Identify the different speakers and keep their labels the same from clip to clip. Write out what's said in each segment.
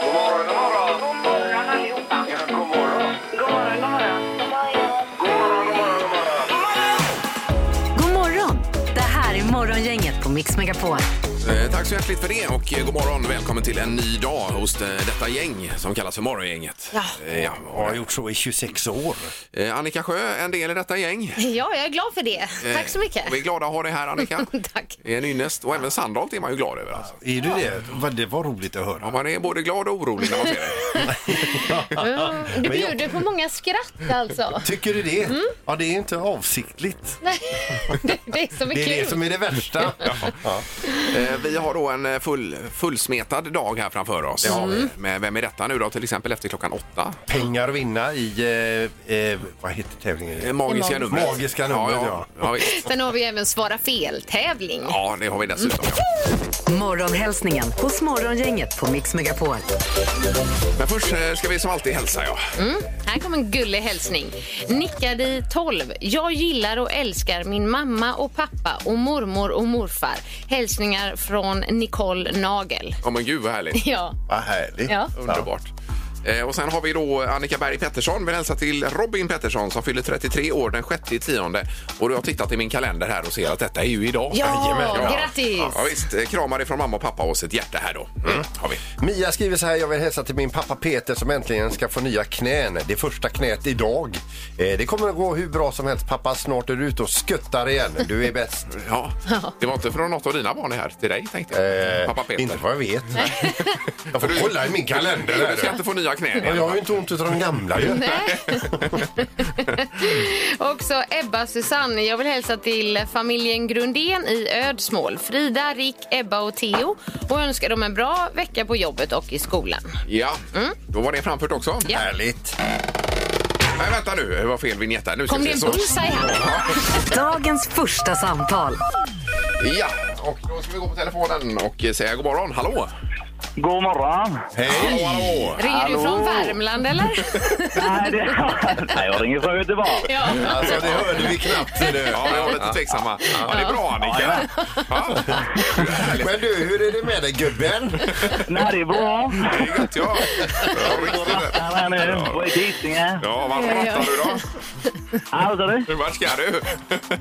Speaker 1: God morgon, god morgon.
Speaker 2: God morgon allihopa.
Speaker 1: Ja, god morgon.
Speaker 2: God morgon, god morgon.
Speaker 1: God morgon, god morgon, god morgon.
Speaker 3: God morgon! Det här är Morgongänget på Mix Megapol.
Speaker 4: Eh, Tack så hjärtligt för det och eh, god morgon. Välkommen till en ny dag hos eh, detta gäng som kallas för Morgongänget. Ja. Ja,
Speaker 5: Jag har gjort så i 26 år.
Speaker 4: Eh, Annika Sjö, en del i detta gäng.
Speaker 6: Ja, jag är glad för det.
Speaker 4: Eh,
Speaker 6: Tack så mycket.
Speaker 4: och Vi är glada att ha dig här Annika.
Speaker 6: Tack.
Speaker 4: Det är en ynnest och även Sandholt är man ju glad över. Alltså.
Speaker 5: Är du det? Vad- Det var roligt att höra.
Speaker 4: Ja, man är både glad och orolig när man ser dig.
Speaker 6: Mm, Du bjuder på många skratt alltså.
Speaker 5: Tycker du det? Ja, det är inte avsiktligt.
Speaker 6: Nej, det, det är som är
Speaker 5: Det är
Speaker 6: kul.
Speaker 5: det som är det värsta. Ja.
Speaker 4: Eh, Vi har då en eh, full, fullsmetad dag här framför oss. Mm. Med Vem är detta nu då? Till exempel efter klockan åtta.
Speaker 5: Pengar att vinna i, eh, eh, vad heter tävlingen?
Speaker 4: Eh, Magiska
Speaker 6: Det
Speaker 4: numret.
Speaker 5: Magiska numret,
Speaker 4: ja. Ja,
Speaker 5: ja.
Speaker 4: ja, visst.
Speaker 6: Sen har vi även svara fel-tävling.
Speaker 4: ja det har vi dessutom. Ja.
Speaker 6: Mm.
Speaker 3: Morgonhälsningen hos Morgongänget på Mix Megapol.
Speaker 4: Men först eh, ska vi som alltid hälsa ja.
Speaker 6: Mm. Här kommer en gullig hälsning. Nickadi 12. Jag gillar och älskar min mamma och pappa och mormor och morfar. Hälsningar från Nicole Nagel.
Speaker 4: Ja men gud vad härligt.
Speaker 6: Ja,
Speaker 5: Vad härligt.
Speaker 6: Ja.
Speaker 4: Underbart. Eh, Och sen har vi då Annika Berg Pettersson. Vill hälsa till Robin Pettersson som fyller 33 år den 6 tionde. Och jag har tittat i min kalender här och ser att detta är ju idag.
Speaker 6: Ja,
Speaker 4: Jajamän.
Speaker 6: grattis!
Speaker 4: Ja, visst. Eh, Kramar ifrån mamma och pappa och ett hjärta här då. Mm, har vi.
Speaker 5: Mia skriver så här, jag vill hälsa till min pappa Peter som äntligen ska få nya knän. Det första knät idag. Eh, det kommer att gå hur bra som helst. Pappa, snart är du ute och skuttar igen. Du är bäst.
Speaker 4: Ja. Det var inte från något av dina barn här till dig tänkte jag.
Speaker 5: Eh,
Speaker 4: Pappa Peter.
Speaker 5: Inte vad jag vet. jag får kolla i min kalender.
Speaker 4: Du ska inte få nya knän.
Speaker 5: Ja, jag har ju inte ont utav de gamla ju.
Speaker 6: Också Ebba och Susanne. Jag vill hälsa till familjen Grundén i Ödsmål. Frida, Rick, Ebba och Theo. Och önskar dem en bra vecka på jobbet och i skolan.
Speaker 4: Ja, då var det framfört också.
Speaker 6: Mm. Ja.
Speaker 5: Härligt.
Speaker 4: Nej, vänta nu. Det var fel vignett där. Nu ska
Speaker 6: Kom
Speaker 4: vi
Speaker 6: det en
Speaker 4: se.
Speaker 6: bullseye här?
Speaker 3: Dagens första samtal.
Speaker 4: Ja, och då ska vi gå på telefonen och säga god morgon. Hallå!
Speaker 7: God
Speaker 4: Hallå,
Speaker 7: morgon!
Speaker 5: Hej!
Speaker 4: hallå!
Speaker 6: Ringer du från Värmland eller?
Speaker 7: Nej, det... Nej, jag ringer från Göteborg.
Speaker 6: ja.
Speaker 5: Alltså det hörde vi knappt. ser du.
Speaker 4: Ja, vi var lite tveksamma. Ja, det är bra, Annika. Ja,
Speaker 5: Men du, hur är det med dig gubben?
Speaker 7: Nej, det är bra.
Speaker 4: det är gött, ja. Ja, riktigt.
Speaker 7: Jag är nu på Hisingen.
Speaker 4: Ja, vart rattar du då?
Speaker 7: Alltså du,
Speaker 4: Hur Vart ska du?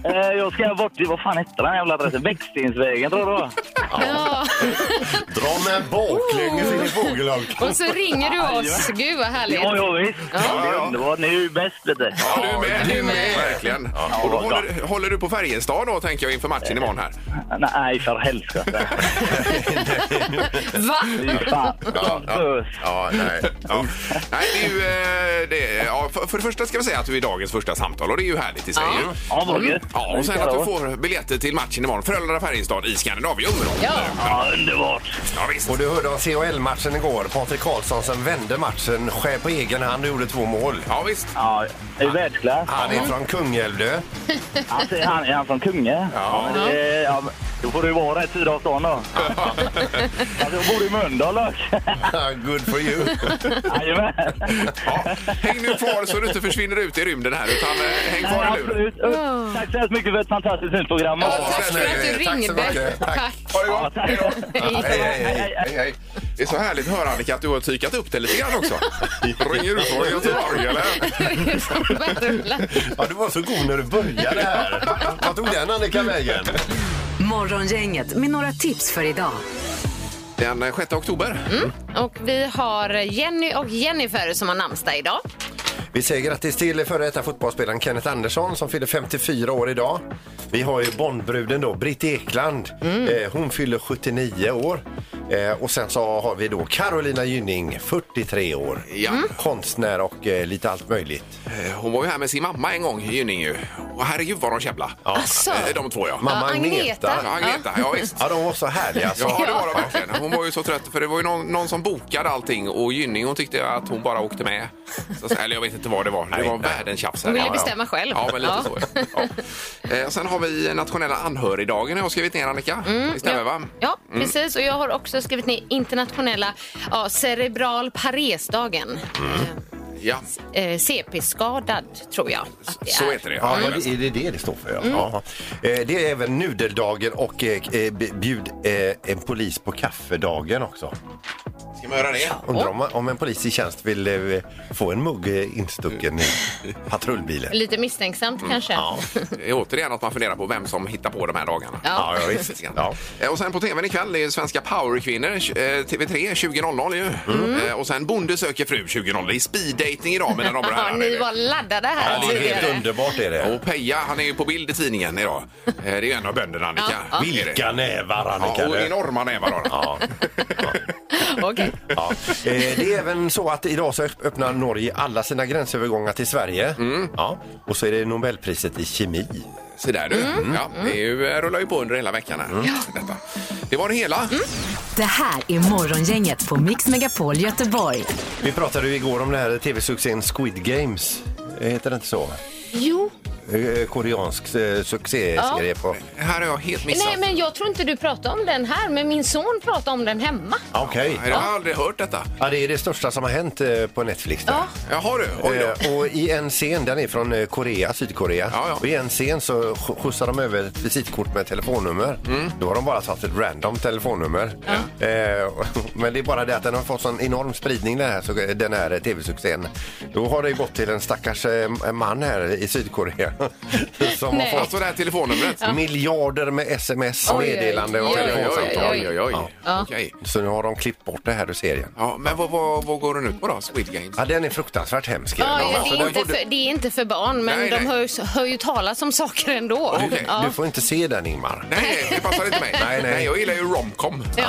Speaker 7: eh, jag ska bort till... Vad fan hette den jävla adressen? Växtensvägen tror jag det var.
Speaker 6: ja.
Speaker 5: Dra med baklänges in i fågelholk.
Speaker 6: Och så ringer du oss. Gud vad härligt.
Speaker 7: Ja, ja visst. Det är underbart. Ni är ju bäst vet du.
Speaker 4: Ja, du är med.
Speaker 5: du är med.
Speaker 4: Verkligen. Och då håller, håller du på Färjestad då, tänker jag, inför matchen imorgon här.
Speaker 7: Nej, för helskotta.
Speaker 6: Va?
Speaker 7: Fy fan. Bös.
Speaker 5: Ja, nej.
Speaker 4: Ja. Nej, det är ju, eh, det, ja, för, för det första ska vi säga att du är dagens första samtal och det är ju härligt i sig. ju.
Speaker 7: Ja, vad gött.
Speaker 4: Ja, och sen att du får biljetter till matchen imorgon. Frölunda-Färjestad i Skandinavium. då.
Speaker 6: Ja.
Speaker 7: Ja, underbart.
Speaker 4: ja, visst.
Speaker 5: Och du hörde om CHL-matchen igår. Patrik Karlsson som vände matchen själv på egen hand och gjorde två mål.
Speaker 4: Ja, visst.
Speaker 7: Ja, det är världsklass.
Speaker 5: Han är från Kungälv
Speaker 7: Alltså, är han, är han från Kungälv? Ja. men det är- ja, men då får du vara rätt sida av stan då. Alltså, jag bor i Mölndal dock.
Speaker 5: du. Good for you.
Speaker 7: Jajamän.
Speaker 4: Ja. Häng nu kvar så du inte försvinner ut i rymden här, utan eh, häng kvar i luren.
Speaker 7: Absolut. Tack så hemskt mycket för ett fantastiskt fint program.
Speaker 4: Ja,
Speaker 6: Tack för att du
Speaker 5: Tack så
Speaker 6: ringde.
Speaker 5: mycket. Tack.
Speaker 6: Tack.
Speaker 4: Ha det gott!
Speaker 7: tack.
Speaker 4: Hej, hej, hej, hej, hej. Det är så härligt att höra Annika att du har tykat upp det lite grann också. Ringer du från Göteborg eller?
Speaker 6: Från Värmland.
Speaker 5: Ja, du var så god när du började här. Vad tog den Annika vägen?
Speaker 3: Morgongänget med några tips för idag.
Speaker 4: Den eh, 6 oktober.
Speaker 6: Och vi har Jenny och Jennifer som har namnsdag idag.
Speaker 5: Vi säger grattis till före detta fotbollsspelaren Kenneth Andersson som fyller 54 år idag. Vi har ju Bondbruden då, Britt Ekland.
Speaker 4: Mm.
Speaker 5: Eh, hon fyller 79 år. Eh, och sen så har vi då Carolina Gynning, 43 år.
Speaker 4: Ja.
Speaker 5: Konstnär och eh, lite allt möjligt.
Speaker 4: Eh, Hon var ju här med sin mamma en gång, Gynning ju. Och herregud vad de käbblade.
Speaker 6: Asså.
Speaker 4: Eh, De två ja.
Speaker 5: Mamma
Speaker 6: Ja, Agneta.
Speaker 5: Agneta.
Speaker 4: Ja, Agneta, ja visst.
Speaker 5: Ja, de var så härliga. Så.
Speaker 4: Ja, det var det verkligen. Hon var ju så trött, för det var ju någon, någon som bokade allting och Gynning hon tyckte att hon bara åkte med. Så, eller jag vet inte vad det var. Det var världens tjafs. här.
Speaker 6: Hon ville
Speaker 4: Ja, ja.
Speaker 6: bestämma själv.
Speaker 4: Ja, men lite
Speaker 6: Ja.
Speaker 4: så. Ja. Eh, sen har vi nationella anhörigdagen jag har skrivit ner, Annika. Det stämmer, va?
Speaker 6: Mm, Ja, precis. Och jag har också skrivit ner internationella ja, cerebral paresdagen.
Speaker 4: Ja,
Speaker 6: Eh, CP-skadad, tror jag att det
Speaker 4: så
Speaker 6: är.
Speaker 4: heter det.
Speaker 5: Ja,
Speaker 4: Ja, Mm.
Speaker 5: är det- är det det det står för? Ja. Ja. Eh, Det är även nudeldagen och eh, eh, bjud eh, en polis på kaffedagen också.
Speaker 4: Ska man göra det?
Speaker 5: Undrar om, om en polis i tjänst vill eh, få en mugg eh, instucken i patrullbilen.
Speaker 6: Lite misstänksamt kanske.
Speaker 4: Det är återigen att man funderar på vem som hittar på de här dagarna.
Speaker 6: Ja.
Speaker 5: Ja, ja, visst. Ja.
Speaker 4: Eh, Och sen på tvn ikväll är ju Svenska powerkvinnor, eh, TV3, 20.00 ju.
Speaker 6: Mm.
Speaker 4: Eh, Och sen Bonde söker fru 20.00. Det är speeddating idag mina damer och
Speaker 6: Ja,
Speaker 4: herrar.
Speaker 6: ni var laddade här
Speaker 5: Ja, det är helt
Speaker 6: tidigare.
Speaker 5: underbart är det.
Speaker 4: Och Peja, han är ju på bild i tidningen idag. Eh, Det är ju en av bönderna, Annika.
Speaker 6: Ja, ja.
Speaker 4: Är det?
Speaker 5: Vilka nävar,
Speaker 4: Ja,
Speaker 5: Annika!
Speaker 4: och
Speaker 5: du.
Speaker 4: enorma nävar har han.
Speaker 5: Ja.
Speaker 6: Okej.
Speaker 5: Ja. Eh, Det är även så att idag så öppnar Norge alla sina gränsövergångar till Sverige.
Speaker 4: Mm.
Speaker 5: Ja. Och så är det Nobelpriset i kemi.
Speaker 4: Se där du.
Speaker 6: Mm.
Speaker 4: Ja, det är ju, eh, rullar ju på under hela veckan här. Detta. Det var det hela.
Speaker 6: Mm.
Speaker 3: Det här är Morgongänget på Mix Megapol Göteborg.
Speaker 5: Vi pratade ju igår om den här tv-succén Squid Games. Eh, Heter det inte så?
Speaker 6: Jo.
Speaker 5: Eh, Koreansk eh, succéserie på...
Speaker 4: Det här har jag helt missat.
Speaker 6: Nej, men jag tror inte du pratade om den här, men min son pratade om den hemma.
Speaker 5: Ah, Okej.
Speaker 4: Nej, Jag har aldrig hört detta.
Speaker 5: Ja, det är det största som har hänt eh, på Netflix. där.
Speaker 6: Ja.
Speaker 4: Jaha du, oj då.
Speaker 5: Eh, och i en scen, den är från eh, Korea, Sydkorea.
Speaker 4: Ja, ja.
Speaker 5: Och I en scen så sk- skjutsar de över ett visitkort med ett telefonnummer.
Speaker 4: Mm.
Speaker 5: Då har de bara tagit ett random telefonnummer. Eh, men det är bara det att den har fått sån enorm spridning den här, så- den här eh, tv-succén. Då har det ju gått till en stackars eh, man här i Sydkorea som
Speaker 6: Nej.
Speaker 5: har fått
Speaker 4: Alltså det här telefonnumret.
Speaker 5: miljarder med sms,
Speaker 6: Oj, oj,
Speaker 5: meddelanden och
Speaker 6: oj, oj,
Speaker 5: telefonsamtal.
Speaker 4: oj, oj, oj.
Speaker 6: Ja.
Speaker 4: Okej.
Speaker 5: Så nu har de klippt bort det här ur serien.
Speaker 4: Ja, men vad, vad, vad går den ut på då, Squid Games?
Speaker 5: Ja, den är fruktansvärt hemsk.
Speaker 6: Ja,
Speaker 5: Ja,
Speaker 6: ja,
Speaker 5: så
Speaker 6: det,
Speaker 5: den
Speaker 6: är inte
Speaker 5: får du-
Speaker 6: för, det är inte för barn, men
Speaker 4: Nej,
Speaker 6: de
Speaker 4: nej.
Speaker 6: Hör, ju- hör ju talas om saker ändå.
Speaker 4: Okej.
Speaker 6: Ja.
Speaker 5: Du får inte se den, Ingmar.
Speaker 4: Nej, det passar inte mig.
Speaker 5: Nej, nej.
Speaker 4: jag gillar ju romcom.
Speaker 6: Ja.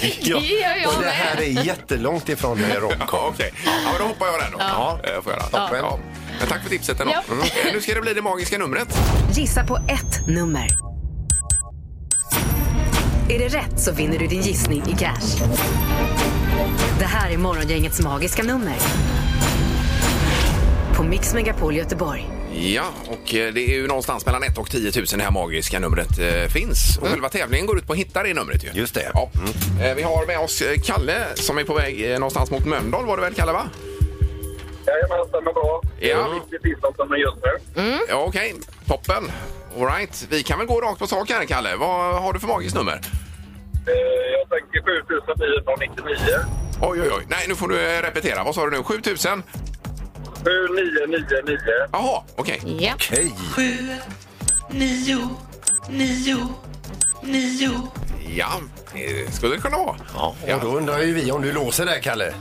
Speaker 6: Det gör jag
Speaker 5: och det här
Speaker 6: med.
Speaker 5: är jättelångt ifrån eh,
Speaker 4: Ja,
Speaker 5: romcom.
Speaker 4: Okej, ja, men då hoppar jag den då.
Speaker 5: Ja.
Speaker 4: Eh, Får jag göra.
Speaker 5: Toppen.
Speaker 4: Ja. Men tack för tipset ändå.
Speaker 6: Ja.
Speaker 4: Mm. Eh, Nu ska det bli det magiska numret.
Speaker 3: Gissa på ett nummer. Är det rätt så vinner du din gissning i cash. Det här är Morgongängets magiska nummer. På Mix Megapol Göteborg.
Speaker 4: Ja, och eh, det är ju någonstans mellan 1 och 10 000 det här magiska numret eh, finns. Och själva tävlingen går ut på att hitta det numret ju.
Speaker 5: Just det.
Speaker 4: Ja. Eh, Vi har med oss eh, Kalle som är på väg eh, någonstans mot Mölndal var det väl Kalle va?
Speaker 1: Jajamän, stämmer bra.
Speaker 4: Ja.
Speaker 1: Riktigt insatt som den just nu.
Speaker 4: Ja, Okej, toppen. All right. Vi kan väl gå rakt på sak här Kalle. Vad har du för magiskt nummer?
Speaker 1: Eh, Jag tänker 7999.
Speaker 4: Oj, oj, oj. Nej, nu får du eh, repetera. Vad sa du nu? 7000?
Speaker 1: 7999.
Speaker 4: Jaha, okej.
Speaker 6: Ja.
Speaker 5: Hej!
Speaker 4: Ja, det skulle det kunna vara.
Speaker 5: Ja, och då undrar ju vi om du låser där, Kalle.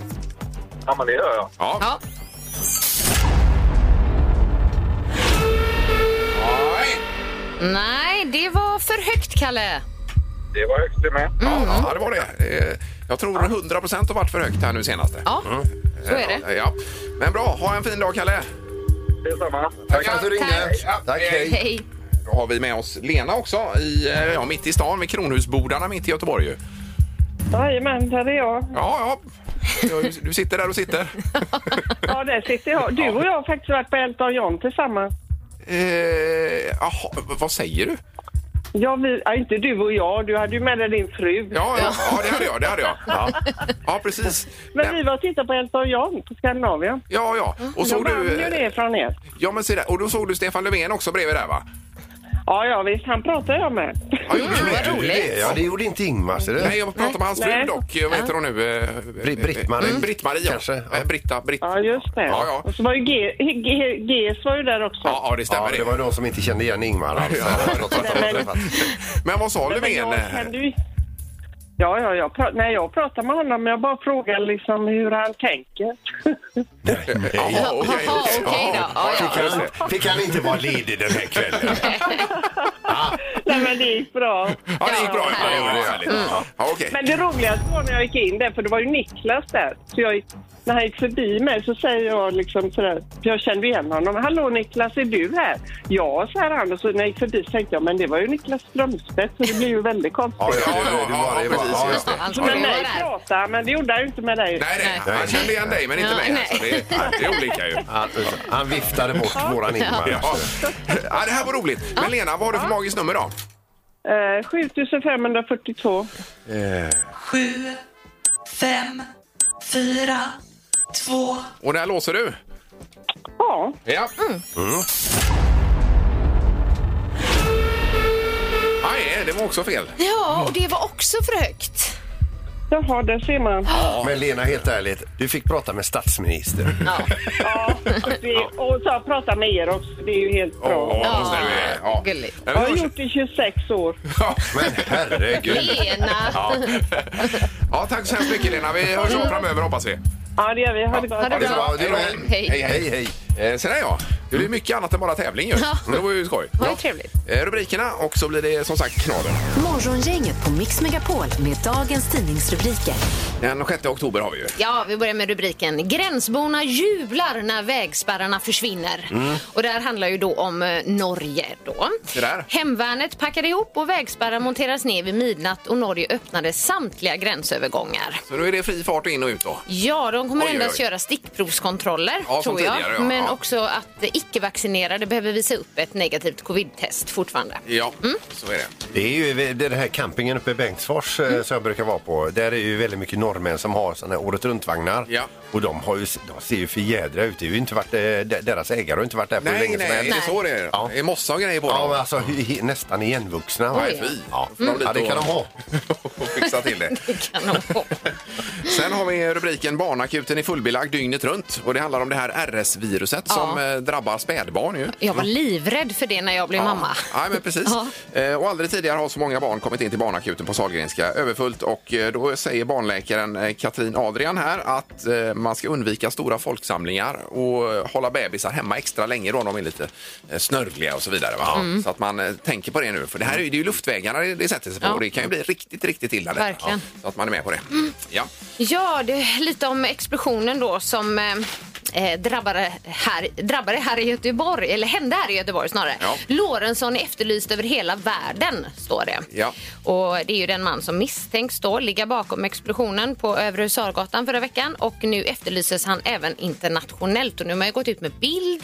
Speaker 1: Ja, men det gör jag.
Speaker 4: Ja.
Speaker 6: Ja.
Speaker 4: Nej.
Speaker 6: Nej, det var för högt, Kalle.
Speaker 1: Det var högt det med.
Speaker 4: Ja, ja, det var det. Eh, Jag tror 100 procent har varit för högt här nu senaste.
Speaker 6: Ja, så är det.
Speaker 4: Eh, Ja. Men bra, ha en fin dag Kalle.
Speaker 1: Detsamma.
Speaker 5: Tack för att du ringde.
Speaker 4: Tack.
Speaker 5: Tack, hej.
Speaker 6: Hej.
Speaker 4: Då har vi med oss Lena också, i, eh, ja, mitt i stan vid Kronhusbodarna mitt i Göteborg. ju.
Speaker 2: Jajamän, här är jag.
Speaker 4: Ja, ja. Du- Du sitter där du sitter.
Speaker 2: Ja, där sitter jag. Du och jag har faktiskt varit på Elton John tillsammans.
Speaker 4: Eh, aha, vad säger du?
Speaker 2: Ja, vi, ja, inte du och jag. Du hade ju med dig din fru.
Speaker 4: Ja, ja, ja det hade jag. Det hade jag. Ja, ja precis.
Speaker 2: Men vi var och tittade på Elton John på Skandinavien.
Speaker 4: Ja, ja. Och
Speaker 2: Jag
Speaker 4: såg
Speaker 2: vann
Speaker 4: du... eh,
Speaker 2: ju det från er.
Speaker 4: Ja, men se där. Och då såg du Stefan Löfven också bredvid där, va?
Speaker 2: Ja, ja visst. Han pratade jag med.
Speaker 4: Ja, gjorde du det?
Speaker 5: Du, det- Ja, det gjorde inte Ingmar, ser
Speaker 4: Nej,
Speaker 5: du.
Speaker 4: jag pratar med hans fru
Speaker 2: Nej.
Speaker 4: dock. Vad heter hon nu? Eh,
Speaker 5: Bri- Britt-Marie.
Speaker 4: eh, Britt-Marie, ja.
Speaker 5: Kanske, ja.
Speaker 4: Eh, Britta, Britt.
Speaker 2: Ja, just det.
Speaker 4: Ja, ja.
Speaker 2: Och så var ju G, G, GS var ju där också.
Speaker 4: Ja, ja, det
Speaker 5: Ja,
Speaker 4: stämmer
Speaker 5: det var de som inte kände igen Ingmar alltså. Trots att de har träffat.
Speaker 4: Men vad sa
Speaker 2: Men
Speaker 4: Löfven?
Speaker 2: jag kan
Speaker 4: eh,
Speaker 2: du... Ja, ja, jag pra... Nej, jag pratar med honom, men jag bara frågar liksom hur han tänker.
Speaker 4: Jaha, okej.
Speaker 6: Jaha, okej då. Ja, ja.
Speaker 5: Fick han- Fick han inte vara ledig den här kvällen?
Speaker 2: Nej, men det gick bra.
Speaker 4: Ja, det gick bra. Ja, det var
Speaker 5: Ja.
Speaker 4: härligt. Ja, okej.
Speaker 2: Mm. Men det roligaste var när jag gick in där, för det var ju Niklas där. Så jag, gick- när han gick förbi mig så säger jag liksom sådär, för jag kände igen honom. Hallå Niklas, är du här? Ja, säger han. Och så när jag gick förbi så tänkte jag, men det var ju Niklas Strömstedt, så det blir ju väldigt konstigt.
Speaker 5: Ja, ja, det- det- det var det.
Speaker 4: Ja, precis,
Speaker 5: Ja,
Speaker 4: just
Speaker 5: ja.
Speaker 4: det.
Speaker 6: Han
Speaker 2: Så
Speaker 6: skulle
Speaker 2: med
Speaker 6: vara
Speaker 2: mig
Speaker 6: Alltså, där.
Speaker 2: pratade han, men det gjorde han ju inte med
Speaker 4: Nej,
Speaker 2: dig.
Speaker 4: nej.
Speaker 6: Nej.
Speaker 4: Han kände igen dig, men inte
Speaker 6: Ja,
Speaker 4: mig.
Speaker 6: nej.
Speaker 4: Alltså. Det, är, det är olika ju.
Speaker 5: Han- Han viftade bort våran Ingmar.
Speaker 4: Ja. Ja, det här var roligt. Men Lena, vad har du för magiskt nummer då?
Speaker 2: Eh, 7542.
Speaker 8: Sju, fem, fyra, två.
Speaker 4: Och där låser du?
Speaker 2: Ja.
Speaker 4: Ja.
Speaker 2: Mm.
Speaker 4: Mm. Nej, det var också fel.
Speaker 6: Ja, och det var också för högt.
Speaker 2: Jaha, där ser man.
Speaker 5: Men Lena, helt ärligt, du fick prata med statsministern.
Speaker 2: Ja, det, och så prata med er också. Det är ju helt bra.
Speaker 4: Ja,
Speaker 6: Ja,
Speaker 4: måste vi- ja.
Speaker 6: gulligt.
Speaker 4: Men
Speaker 2: jag
Speaker 4: vi
Speaker 2: har
Speaker 4: hörs-
Speaker 2: gjort det i 26 år.
Speaker 4: Ja,
Speaker 5: Men herregud.
Speaker 6: Lena.
Speaker 4: ja. ja, tack så hemskt mycket Lena. Vi hörs om framöver hoppas vi.
Speaker 2: Ja, det gör vi. Ha det bra.
Speaker 6: Ha det
Speaker 5: Det är bra. Det är bra.
Speaker 6: Hej.
Speaker 5: Hej, hej. hej.
Speaker 4: Eh, sen är jag. Det blir mycket annat än bara tävling ju. Det var ju skoj.
Speaker 6: Var ju trevligt.
Speaker 4: Eh, rubrikerna och så blir det som sagt knorren.
Speaker 3: Morgongänget på Mix Megapol med dagens tidningsrubriker.
Speaker 4: Den 6 oktober har vi ju.
Speaker 6: Ja, vi börjar med rubriken. Gränsborna jublar när vägspärrarna försvinner. Och det här handlar ju då om eh, Norge då.
Speaker 4: Mm. Det där.
Speaker 6: Hemvärnet packade ihop och vägspärrar monterades ner vid midnatt och Norge öppnade samtliga gränsövergångar.
Speaker 4: Så nu är det fri fart in och ut då.
Speaker 6: Ja, de kommer
Speaker 4: Oj, oj, oj.
Speaker 6: endast göra stickprovskontroller,
Speaker 4: Ja, som
Speaker 6: tror jag.
Speaker 4: tidigare, ja.
Speaker 6: Men
Speaker 4: Ja.
Speaker 6: också att eh, icke-vaccinerade behöver visa upp ett negativt covid-test fortfarande.
Speaker 4: Ja, så är det.
Speaker 5: Det är ju det är den här campingen uppe i Bengtsfors eh,
Speaker 4: Mm.
Speaker 5: som jag brukar vara på. Där är ju väldigt mycket norrmän som har såna här året runt-vagnar.
Speaker 4: Ja.
Speaker 5: Och de, har ju, de ser ju för jädra ut. Det är ju inte varit, eh, de- deras ägare har inte varit där på hur
Speaker 4: Nej,
Speaker 5: länge
Speaker 4: nej,
Speaker 5: som
Speaker 4: är
Speaker 5: helst.
Speaker 4: det så det är?
Speaker 5: Ja.
Speaker 4: Det är mossa och grejer på
Speaker 5: Ja,
Speaker 4: dem.
Speaker 5: men alltså hy- hy- nästan igenvuxna.
Speaker 6: Oj.
Speaker 4: Fy.
Speaker 5: Ja.
Speaker 4: Får de lite
Speaker 5: ja, det kan
Speaker 4: att-
Speaker 5: de ha.
Speaker 4: och fixa till det.
Speaker 6: Kan de få.
Speaker 4: Sen har vi rubriken Barnakuten är fullbelagd dygnet runt. Och det handlar om det här RS-viruset
Speaker 6: Ja.
Speaker 4: som eh, drabbar spädbarn ju.
Speaker 6: Jag var livrädd för det när jag blev mamma.
Speaker 4: Ja, men precis. Eh, Och aldrig tidigare har så många barn kommit in till barnakuten på Sahlgrenska överfullt. Och eh, då säger barnläkaren eh, Katrin Adrian här att eh, man ska undvika stora folksamlingar och eh, hålla bebisar hemma extra länge då om de är lite eh, snörvliga och så vidare. Va?
Speaker 6: Mm.
Speaker 4: Så att man eh, tänker på det nu. För det här är ju, det är ju luftvägarna det, det sätter sig på
Speaker 6: Ja.
Speaker 4: och det kan ju bli riktigt, riktigt illa. det.
Speaker 6: Verkligen. Mm.
Speaker 4: Ja, så att man är med på det. Ja.
Speaker 6: Ja, det är lite om explosionen då som eh, eh, drabbade, här, drabbade här i Göteborg, eller hände här i Göteborg snarare.
Speaker 4: Ja.
Speaker 6: Lorentzon är efterlyst över hela världen, står det.
Speaker 4: Ja.
Speaker 6: Och det är ju den man som misstänks då ligga bakom explosionen på Övre Husargatan förra veckan och nu efterlyses han även internationellt och nu har man ju gått ut med bild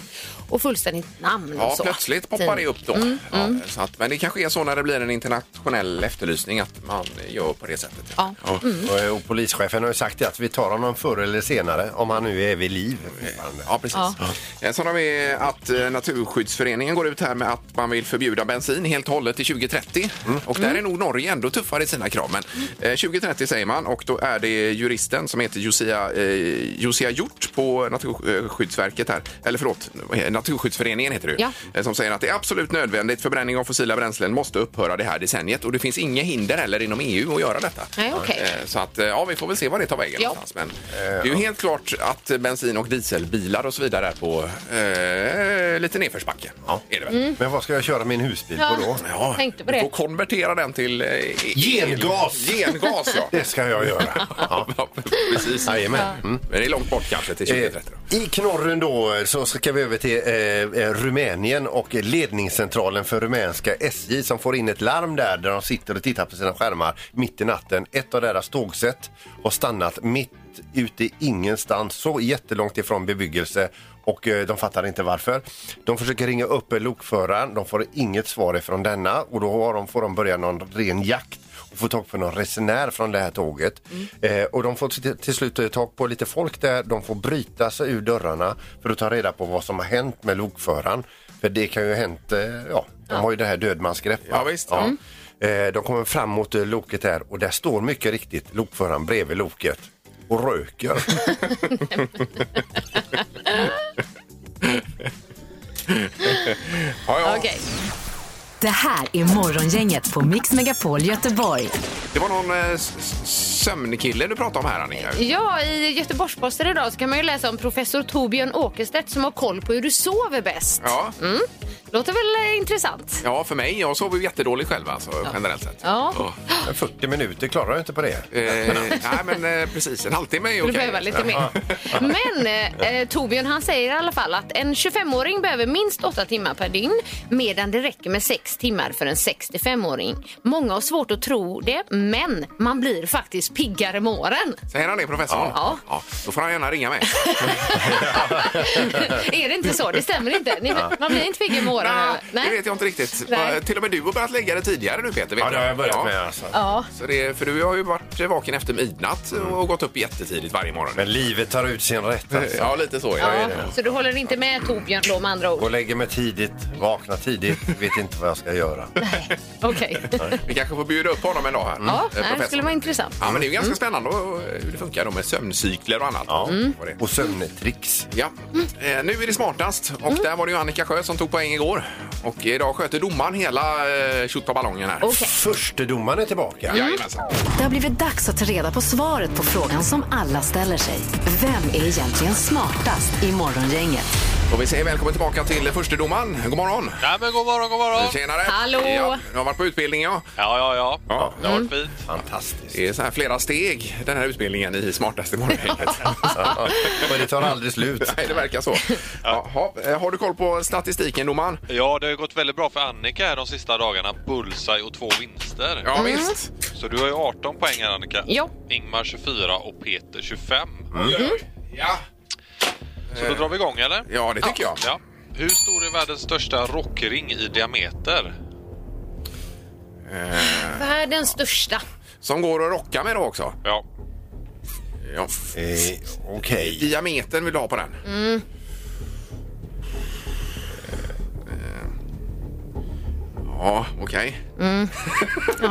Speaker 6: och fullständigt namn och
Speaker 4: Ja,
Speaker 6: liksom, så. Mm.
Speaker 4: plötsligt poppar det upp då. Ja, så att, men det kanske är så när det blir en internationell efterlysning att man gör på det sättet.
Speaker 6: Ja. Mm.
Speaker 5: Och, eh, Och polischefen har ju sagt det, att vi tar honom förr eller senare om han nu är vid liv. fortfarande.
Speaker 4: Ja, precis. Eh, Sen har vi att eh, Naturskyddsföreningen går ut här med att man vill förbjuda bensin helt och hållet till 2030. Och
Speaker 6: Mm.
Speaker 4: där är nog Norge ändå tuffare i sina krav. Men eh, 2030 säger man och då är det juristen som heter Josia, eh, Josia Hjort på Naturskyddsverket här. Eller förlåt, eh, Naturskyddsföreningen heter det ju.
Speaker 6: Ja.
Speaker 4: Eh, Som säger att det är absolut nödvändigt. Förbränning av fossila bränslen måste upphöra det här decenniet och det finns inga hinder heller inom EU att göra detta.
Speaker 6: Nej, okej.
Speaker 4: Eh, Så att, eh, ja, vi får väl se vad det tar vägen
Speaker 6: Ja.
Speaker 4: någonstans. Men eh, det är ju helt klart att eh, bensin och dieselbilar och så vidare är på eh, lite nedförsbacke. Ja. Är det väl?
Speaker 5: Men vad ska jag köra min husbil
Speaker 6: Ja.
Speaker 5: på då?
Speaker 4: Ja,
Speaker 6: Tänkte på Mm, det.
Speaker 4: Du får konvertera den till... Eh, el-
Speaker 5: Gengas!
Speaker 4: Gengas, ja.
Speaker 5: Det ska jag göra. Ja.
Speaker 4: ja. Precis.
Speaker 5: Jajamän. Mm.
Speaker 4: Men det är långt bort kanske till
Speaker 5: Eh,
Speaker 4: 2030.
Speaker 5: I knorren då eh, så ska vi över till eh, eh, Rumänien och ledningscentralen för rumänska SJ som får in ett larm där där de sitter och tittar på sina skärmar mitt i natten. Ett av deras tågsätt har stannat mitt ute i ingenstans, så jättelångt ifrån bebyggelse och eh, de fattar inte varför. De försöker ringa upp eh, lokföraren, de får inget svar ifrån denna och då har de, får de börja någon ren jakt och få tag på någon resenär från det här tåget.
Speaker 4: Mm.
Speaker 5: Eh, och de får till, till slut eh, tag på lite folk där. De får bryta sig ur dörrarna för att ta reda på vad som har hänt med lokföraren. För det kan ju ha hänt, eh, ja, de har ju det här dödmansgreppet.
Speaker 4: Ja, visst. Mm.
Speaker 5: Eh, de kommer fram mot eh, loket här och där står mycket riktigt lokföraren bredvid loket och röker.
Speaker 4: Ja, ja.
Speaker 6: Okej.
Speaker 3: Det här är Morgongänget på Mix Megapol Göteborg.
Speaker 4: Det var någon eh, s- s- sömnkille du pratade om här, Annika.
Speaker 6: Ja, i Göteborgs-Posten idag så kan man ju läsa om professor Torbjörn Åkerstedt som har koll på hur du sover bäst. Mm.
Speaker 4: Ja.
Speaker 6: Låter väl eh, intressant?
Speaker 4: ja, för mig. Jag sover ju jättedåligt själv alltså, generellt sett.
Speaker 6: Ja.
Speaker 4: Ja.
Speaker 5: Men 40 minuter klarar jag inte på det.
Speaker 4: Eh, nej, men eh, precis. En halvtimme är
Speaker 6: Skulle
Speaker 4: okej.
Speaker 6: behöva lite mer. Men eh, Torbjörn han säger i alla fall att en 25-åring behöver minst 8 timmar per dygn medan det räcker med 6 timmar för en 65-åring. Många har svårt att tro det, men man blir faktiskt piggare med åren.
Speaker 4: Säger han det, professorn?
Speaker 6: Ja.
Speaker 4: Då får han gärna ringa mig.
Speaker 6: är det inte så? Det stämmer inte. Ni, man blir inte piggare med våren?
Speaker 4: Nej,
Speaker 6: eller?
Speaker 4: det vet jag inte riktigt.
Speaker 6: Nej.
Speaker 4: Eh, Till och med du har börjat lägga det tidigare nu Peter. Vet
Speaker 5: Ja, det har jag börjat
Speaker 4: Ja.
Speaker 5: med alltså.
Speaker 6: Ja.
Speaker 4: Så det, för du har ju varit vaken efter midnatt och gått upp jättetidigt varje morgon.
Speaker 5: Mm. Men livet tar ut sin rätt alltså.
Speaker 4: Ja, lite så. Ja.
Speaker 6: Ja, så du håller inte med Torbjörn då med andra
Speaker 5: Gå
Speaker 6: ord?
Speaker 5: och lägger mig tidigt, vakna tidigt, vet inte vad jag ska göra.
Speaker 6: Okej.
Speaker 4: Vi kanske får bjuda upp honom en dag här. Eh,
Speaker 6: Ja, nej,
Speaker 4: professor.
Speaker 6: det skulle vara Mm. intressant.
Speaker 4: Ja, men det är ju ganska spännande och, eh, hur det funkar då med sömncykler och annat. Ja.
Speaker 6: Mm.
Speaker 4: Vad det är.
Speaker 5: Mm. Och sömntricks.
Speaker 4: Ja. Eh, nu är det smartast och
Speaker 6: Mm.
Speaker 4: där var det ju Annika Sjö som tog poäng igår. Och idag sköter domaren hela eh, tjottapallongen här.
Speaker 6: Okej.
Speaker 5: Förstedomaren är tillbaka.
Speaker 6: Mm.
Speaker 4: Jajamensan.
Speaker 3: Det har blivit dags att ta reda på svaret på frågan som alla ställer sig. Vem är egentligen smartast i Morgongänget?
Speaker 4: Och vi säger välkommen tillbaka till förstedomaren. God morgon!
Speaker 9: Ja, men god morgon, god morgon.
Speaker 4: Tjenare!
Speaker 6: Hallå.
Speaker 4: Ja, du har varit på utbildning ja.
Speaker 9: Ja, ja, ja.
Speaker 4: ja.
Speaker 9: Det har varit
Speaker 6: Mm.
Speaker 9: fint.
Speaker 5: Fantastiskt.
Speaker 4: Det är så här flera steg den här utbildningen i smartaste morgongänget.
Speaker 5: Och det tar aldrig slut.
Speaker 4: Nej, det verkar så. Jaha. Eh, Har du koll på statistiken domaren?
Speaker 9: Ja, det har ju gått väldigt bra för Annika här de sista dagarna. Bullseye och två vinster.
Speaker 4: Ja
Speaker 6: Mm.
Speaker 4: visst.
Speaker 9: Så du har ju 18 poäng här Annika.
Speaker 6: Ja. Mm.
Speaker 9: Ingmar 24 och Peter 25.
Speaker 4: Mm. Ja,
Speaker 9: Så då drar vi igång eller?
Speaker 4: ja det tycker jag.
Speaker 9: Ja. Hur stor är världens största rockring i diameter?
Speaker 6: Världens största.
Speaker 4: Som går att rocka med då också.
Speaker 9: Ja.
Speaker 4: Ja.
Speaker 5: Eh, Okej.
Speaker 4: Diametern vill du ha på den?
Speaker 6: Mm.
Speaker 4: Eh, Ja, okej.
Speaker 6: Ja,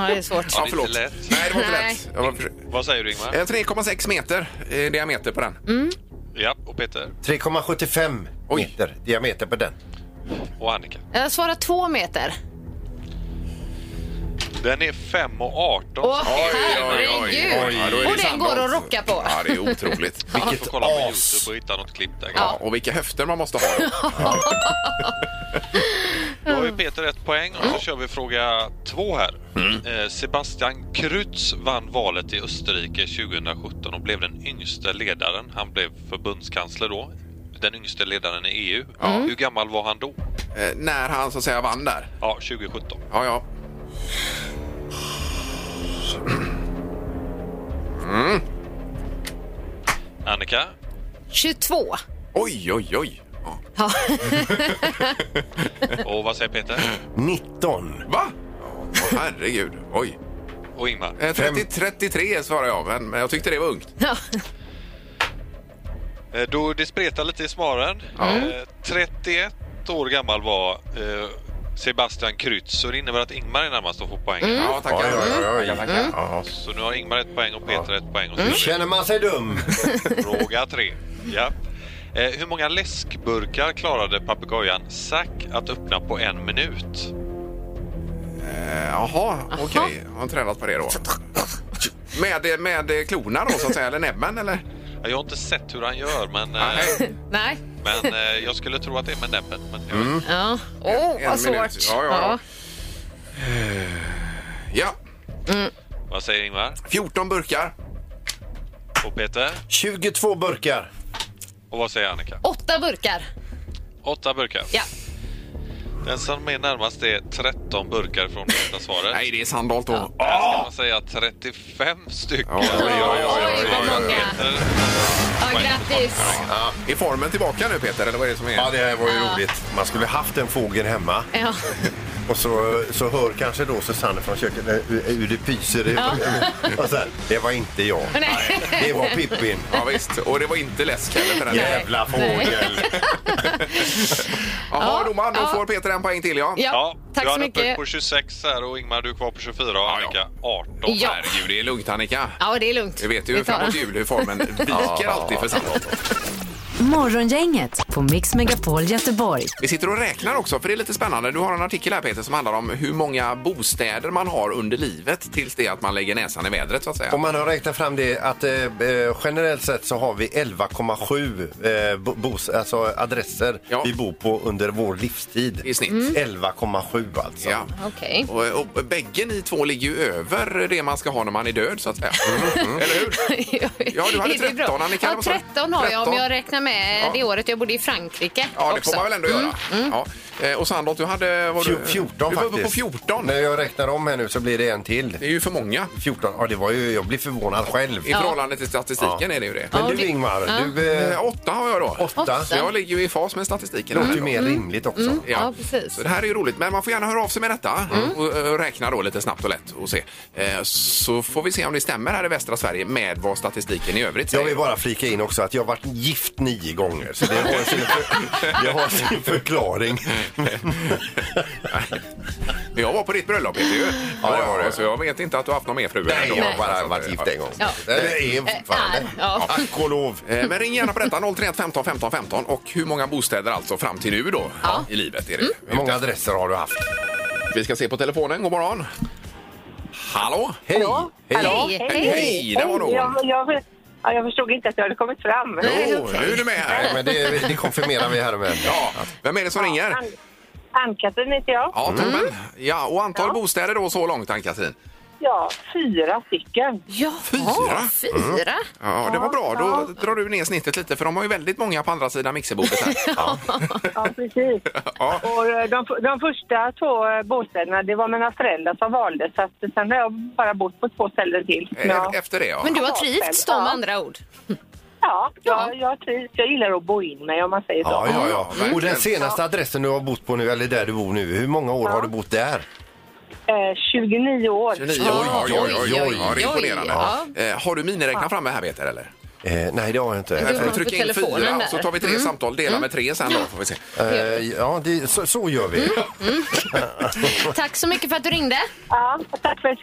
Speaker 6: det är svårt.
Speaker 4: Ja,
Speaker 9: inte
Speaker 4: förlåt.
Speaker 9: lätt.
Speaker 4: Nej, det var inte
Speaker 6: Nej.
Speaker 4: lätt. Jag var för-
Speaker 9: Vad säger du Ingmar?
Speaker 4: Eh, 3,6 meter eh, diameter på den.
Speaker 6: Mm.
Speaker 9: Ja, och Peter
Speaker 5: 3,75
Speaker 4: Oj.
Speaker 5: meter diameter på den.
Speaker 9: och Annika.
Speaker 6: Jag svarar två meter.
Speaker 9: Den är 5 och 18.
Speaker 6: Åh,
Speaker 4: oj, oj, oj.
Speaker 6: herregud!
Speaker 4: Ja, då är det
Speaker 6: Och den
Speaker 4: samma
Speaker 6: går att
Speaker 4: också.
Speaker 6: rocka på.
Speaker 4: Ja, det är otroligt.
Speaker 9: Du får
Speaker 5: Vilket
Speaker 9: kolla på
Speaker 5: as.
Speaker 9: Youtube och hitta något klipp där.
Speaker 4: Ja, och vilka höfter man måste ha. Då.
Speaker 9: Då har ju Peter ett poäng och så kör vi fråga två här. Eh, Sebastian Krutz vann valet i Österrike 2017 och blev den yngste ledaren. Han blev förbundskansler då. Den yngste ledaren i EU. Hur gammal var han då?
Speaker 4: Eh, När han så att säga vann där.
Speaker 9: Ja, 2017.
Speaker 4: Ja, ja.
Speaker 9: Annika?
Speaker 6: 22.
Speaker 4: Oj, oj, oj. Ja.
Speaker 9: Och vad säger Peter?
Speaker 5: 19.
Speaker 4: Va? Åh, herregud. Oj.
Speaker 9: Och Ingmar?
Speaker 4: Eh, 30, 33 svarar jag, men, men jag tyckte det var ungt.
Speaker 6: Ja.
Speaker 9: Eh, Då det spretar lite i svaren. Eh, 31 år gammal var eh, Sebastian Krutz, så det innebär att Ingmar är närmast att få poäng.
Speaker 4: Ja, tackar. Mm.
Speaker 5: Oj, oj, oj.
Speaker 4: Tackar, tackar.
Speaker 5: Ja.
Speaker 9: Så nu har Ingmar ett poäng och Peter ett poäng. Och så är det
Speaker 5: Känner man sig dum?
Speaker 9: Fråga tre. Ja. Eh, hur många läskburkar klarade papegojan Zack att öppna på en minut?
Speaker 4: Eh, Jaha, okej. Har han tränat på det då? Med, med klorna då, så att säga, eller näbben, eller?
Speaker 9: Ja, Jag har inte sett hur han gör, men, eh,
Speaker 4: Nej.
Speaker 6: Nej.
Speaker 9: men eh, jag skulle tro att det är med näbben. Men jag vet
Speaker 4: Mm.
Speaker 9: inte.
Speaker 6: Ja. Åh, oh,
Speaker 4: En
Speaker 6: vad
Speaker 4: minut.
Speaker 6: svårt.
Speaker 4: Ja, ja, ja. Ja,
Speaker 9: Vad säger Ingvar?
Speaker 4: 14 burkar.
Speaker 9: Och Peter?
Speaker 5: 22 burkar.
Speaker 9: Och vad säger Annika?
Speaker 6: Åtta burkar.
Speaker 9: Åtta burkar.
Speaker 6: Ja.
Speaker 9: Den som är närmast är 13 burkar från detta svaret.
Speaker 4: Nej, det är Sandholt då.
Speaker 9: Här ska man säga 35 stycken.
Speaker 4: Oj, oj, oj,
Speaker 6: oj, vad
Speaker 9: Det är
Speaker 6: många.
Speaker 9: Peter.
Speaker 6: Ja, grattis.
Speaker 4: Är formen tillbaka nu, Peter? Eller vad är det som
Speaker 5: Ja,
Speaker 4: är?
Speaker 5: det här var ju roligt. Man skulle haft en fågel hemma.
Speaker 6: Ja.
Speaker 5: Och så, så hör kanske då Susanne från köket eh, hur hur det pyser. i- Och så här, det var inte jag.
Speaker 6: Nej.
Speaker 5: Det var Pippin.
Speaker 4: Ja, visst. Och det var inte läsk heller för den delen.
Speaker 5: Jävla fågel.
Speaker 4: Jaha, domaren, då
Speaker 6: ja.
Speaker 4: får Peter en poäng till, ja.
Speaker 6: Ja, tack
Speaker 9: du
Speaker 6: så
Speaker 9: hade ett poäng
Speaker 6: mycket.
Speaker 9: på 26 här och Ingmar du är kvar på 24 och
Speaker 4: Ja, ja.
Speaker 9: Annika 18.
Speaker 6: Ja.
Speaker 4: Herregud, det är lugnt, Annika.
Speaker 6: Ja, det är lugnt.
Speaker 4: Vi vet ju
Speaker 6: Vi tar
Speaker 4: framåt
Speaker 6: den.
Speaker 4: jul hur formen viker alltid för Sandholt.
Speaker 3: Morgongänget på Mix Megapol Göteborg.
Speaker 4: Vi sitter och räknar också, för det är lite spännande. Du har en artikel här Peter som handlar om hur många bostäder man har under livet tills det att man lägger näsan i vädret så att säga.
Speaker 5: Om man har räknat fram det att eh, eh, generellt sett så har vi 11,7 eh, bo, bos- alltså adresser
Speaker 4: Ja.
Speaker 5: vi bor på under vår livstid.
Speaker 4: I snitt. Mm.
Speaker 5: 11,7 alltså.
Speaker 4: Ja.
Speaker 6: Okej.
Speaker 4: Och, och bägge ni två ligger ju över det man ska ha när man är död så att säga. Mm. Eller hur? Ja, du hade
Speaker 6: Är det bra?
Speaker 4: 13, Annika,
Speaker 6: Ja,
Speaker 4: vad sa du?
Speaker 6: 13 har jag om
Speaker 4: 13.
Speaker 6: jag räknar med
Speaker 4: Ja.
Speaker 6: det året jag bodde i Frankrike
Speaker 4: Ja, det
Speaker 6: också. Mm,
Speaker 4: får man väl ändå göra. Ja. Eh, Och Sandholt, du hade... Var
Speaker 5: Fjo-
Speaker 4: du,
Speaker 5: 14
Speaker 4: du var uppe på
Speaker 5: faktiskt.
Speaker 4: 14.
Speaker 5: När jag räknar om här nu så blir det en till.
Speaker 4: Det är ju för många.
Speaker 5: 14, ja det var ju, jag blir förvånad själv.
Speaker 4: I förhållande till statistiken
Speaker 5: Ja.
Speaker 4: är det ju det.
Speaker 5: Men
Speaker 6: Ja,
Speaker 5: du
Speaker 6: det-
Speaker 5: Ingmar, du...
Speaker 4: Eh,
Speaker 5: Eh,
Speaker 4: Åtta Mm. har jag då.
Speaker 5: åtta.
Speaker 6: Åtta.
Speaker 4: Så jag ligger ju i fas med statistiken.
Speaker 5: Det låter
Speaker 4: här
Speaker 5: ju
Speaker 4: då.
Speaker 5: mer rimligt också.
Speaker 6: Ja, precis. Mm.
Speaker 4: Så det här är ju roligt, men man får gärna höra av sig med detta och, eh, räkna då lite snabbt och lätt och se. Eh, Så får vi se om det stämmer här i västra Sverige med vad statistiken i övrigt
Speaker 5: Jag
Speaker 4: säger.
Speaker 5: vill bara flika in också att jag har varit gift nio gånger. Så det har sin, för, det har sin förklaring.
Speaker 4: Men Jag var på ditt bröllop, Peter. ju.
Speaker 5: Ja, det var du.
Speaker 4: Så jag vet inte att du har haft någon mer fru.
Speaker 5: Nej,
Speaker 4: ändå.
Speaker 5: jag har bara
Speaker 4: Alltså,
Speaker 5: varit gift
Speaker 4: ja.
Speaker 5: en gång.
Speaker 6: Ja.
Speaker 5: Eller är fortfarande.
Speaker 6: Är, ja.
Speaker 5: Tack och lov.
Speaker 4: Eh, Men ring gärna på detta 031 15 15 15 och hur många bostäder alltså fram till nu då
Speaker 6: Ja.
Speaker 4: i livet är det.
Speaker 5: Hur många adresser har du haft?
Speaker 4: Vi ska se på telefonen. God morgon. Hallå?
Speaker 5: Hej! Hej!
Speaker 6: Hej!
Speaker 4: Hej, hej. där var någon.
Speaker 2: jag, jag, ja, jag förstod inte att jag hade kommit fram.
Speaker 6: Nej,
Speaker 4: Jo,
Speaker 6: okej.
Speaker 4: nu är du med
Speaker 5: Nej,
Speaker 4: här.
Speaker 5: men det, det konfirmerar vi här med.
Speaker 4: Ja, vem är det som ringer?
Speaker 2: Ann- Ann-Katrin heter jag.
Speaker 4: Ja, Torben. Ja, och antal bostäder då så långt, Ann-Katrin?
Speaker 2: Ja, fyra stycken.
Speaker 6: Jaha,
Speaker 4: Fyra? Mm.
Speaker 6: fyra.
Speaker 4: Ja, det var bra. Då drar du ner snittet lite, för de har ju väldigt många på andra sidan mixerbordet här. Ja.
Speaker 2: Ja, precis.
Speaker 4: Ja.
Speaker 2: Och eh, de, de första två eh, bostäderna, det var mina föräldrar som valde. Så att, sen har jag bara bott på två ställen till.
Speaker 4: E-
Speaker 2: Ja,
Speaker 4: Efter det, ja.
Speaker 6: Men du har trivts då med
Speaker 2: Ja.
Speaker 6: andra ord?
Speaker 2: ja jag, jag trivs. Jag gillar att bo in mig om man säger så.
Speaker 5: Ja, ja, ja.
Speaker 4: Mm.
Speaker 5: Och den senaste adressen du har bott på nu, eller där du bor nu, hur många år har du bott där?
Speaker 2: Eh, 29 år.
Speaker 4: 29 år. Oj, oj, oj, oj, oj. Ja, det är imponerande.
Speaker 6: Ja.
Speaker 4: Eh, Har du miniräknaren framme här, Peter? Eller?
Speaker 5: Eh, nej, det har jag inte.
Speaker 6: Du har
Speaker 4: Får du
Speaker 6: den på
Speaker 4: trycka in
Speaker 6: telefonen
Speaker 4: fyra,
Speaker 6: där. Mm.
Speaker 4: så tar vi tre samtal. Dela med tre sen då, får vi se.
Speaker 5: Eh, ja, det, så, så gör
Speaker 6: Mm,
Speaker 5: vi.
Speaker 6: Tack så mycket för att du ringde.
Speaker 2: Ja, tack för ett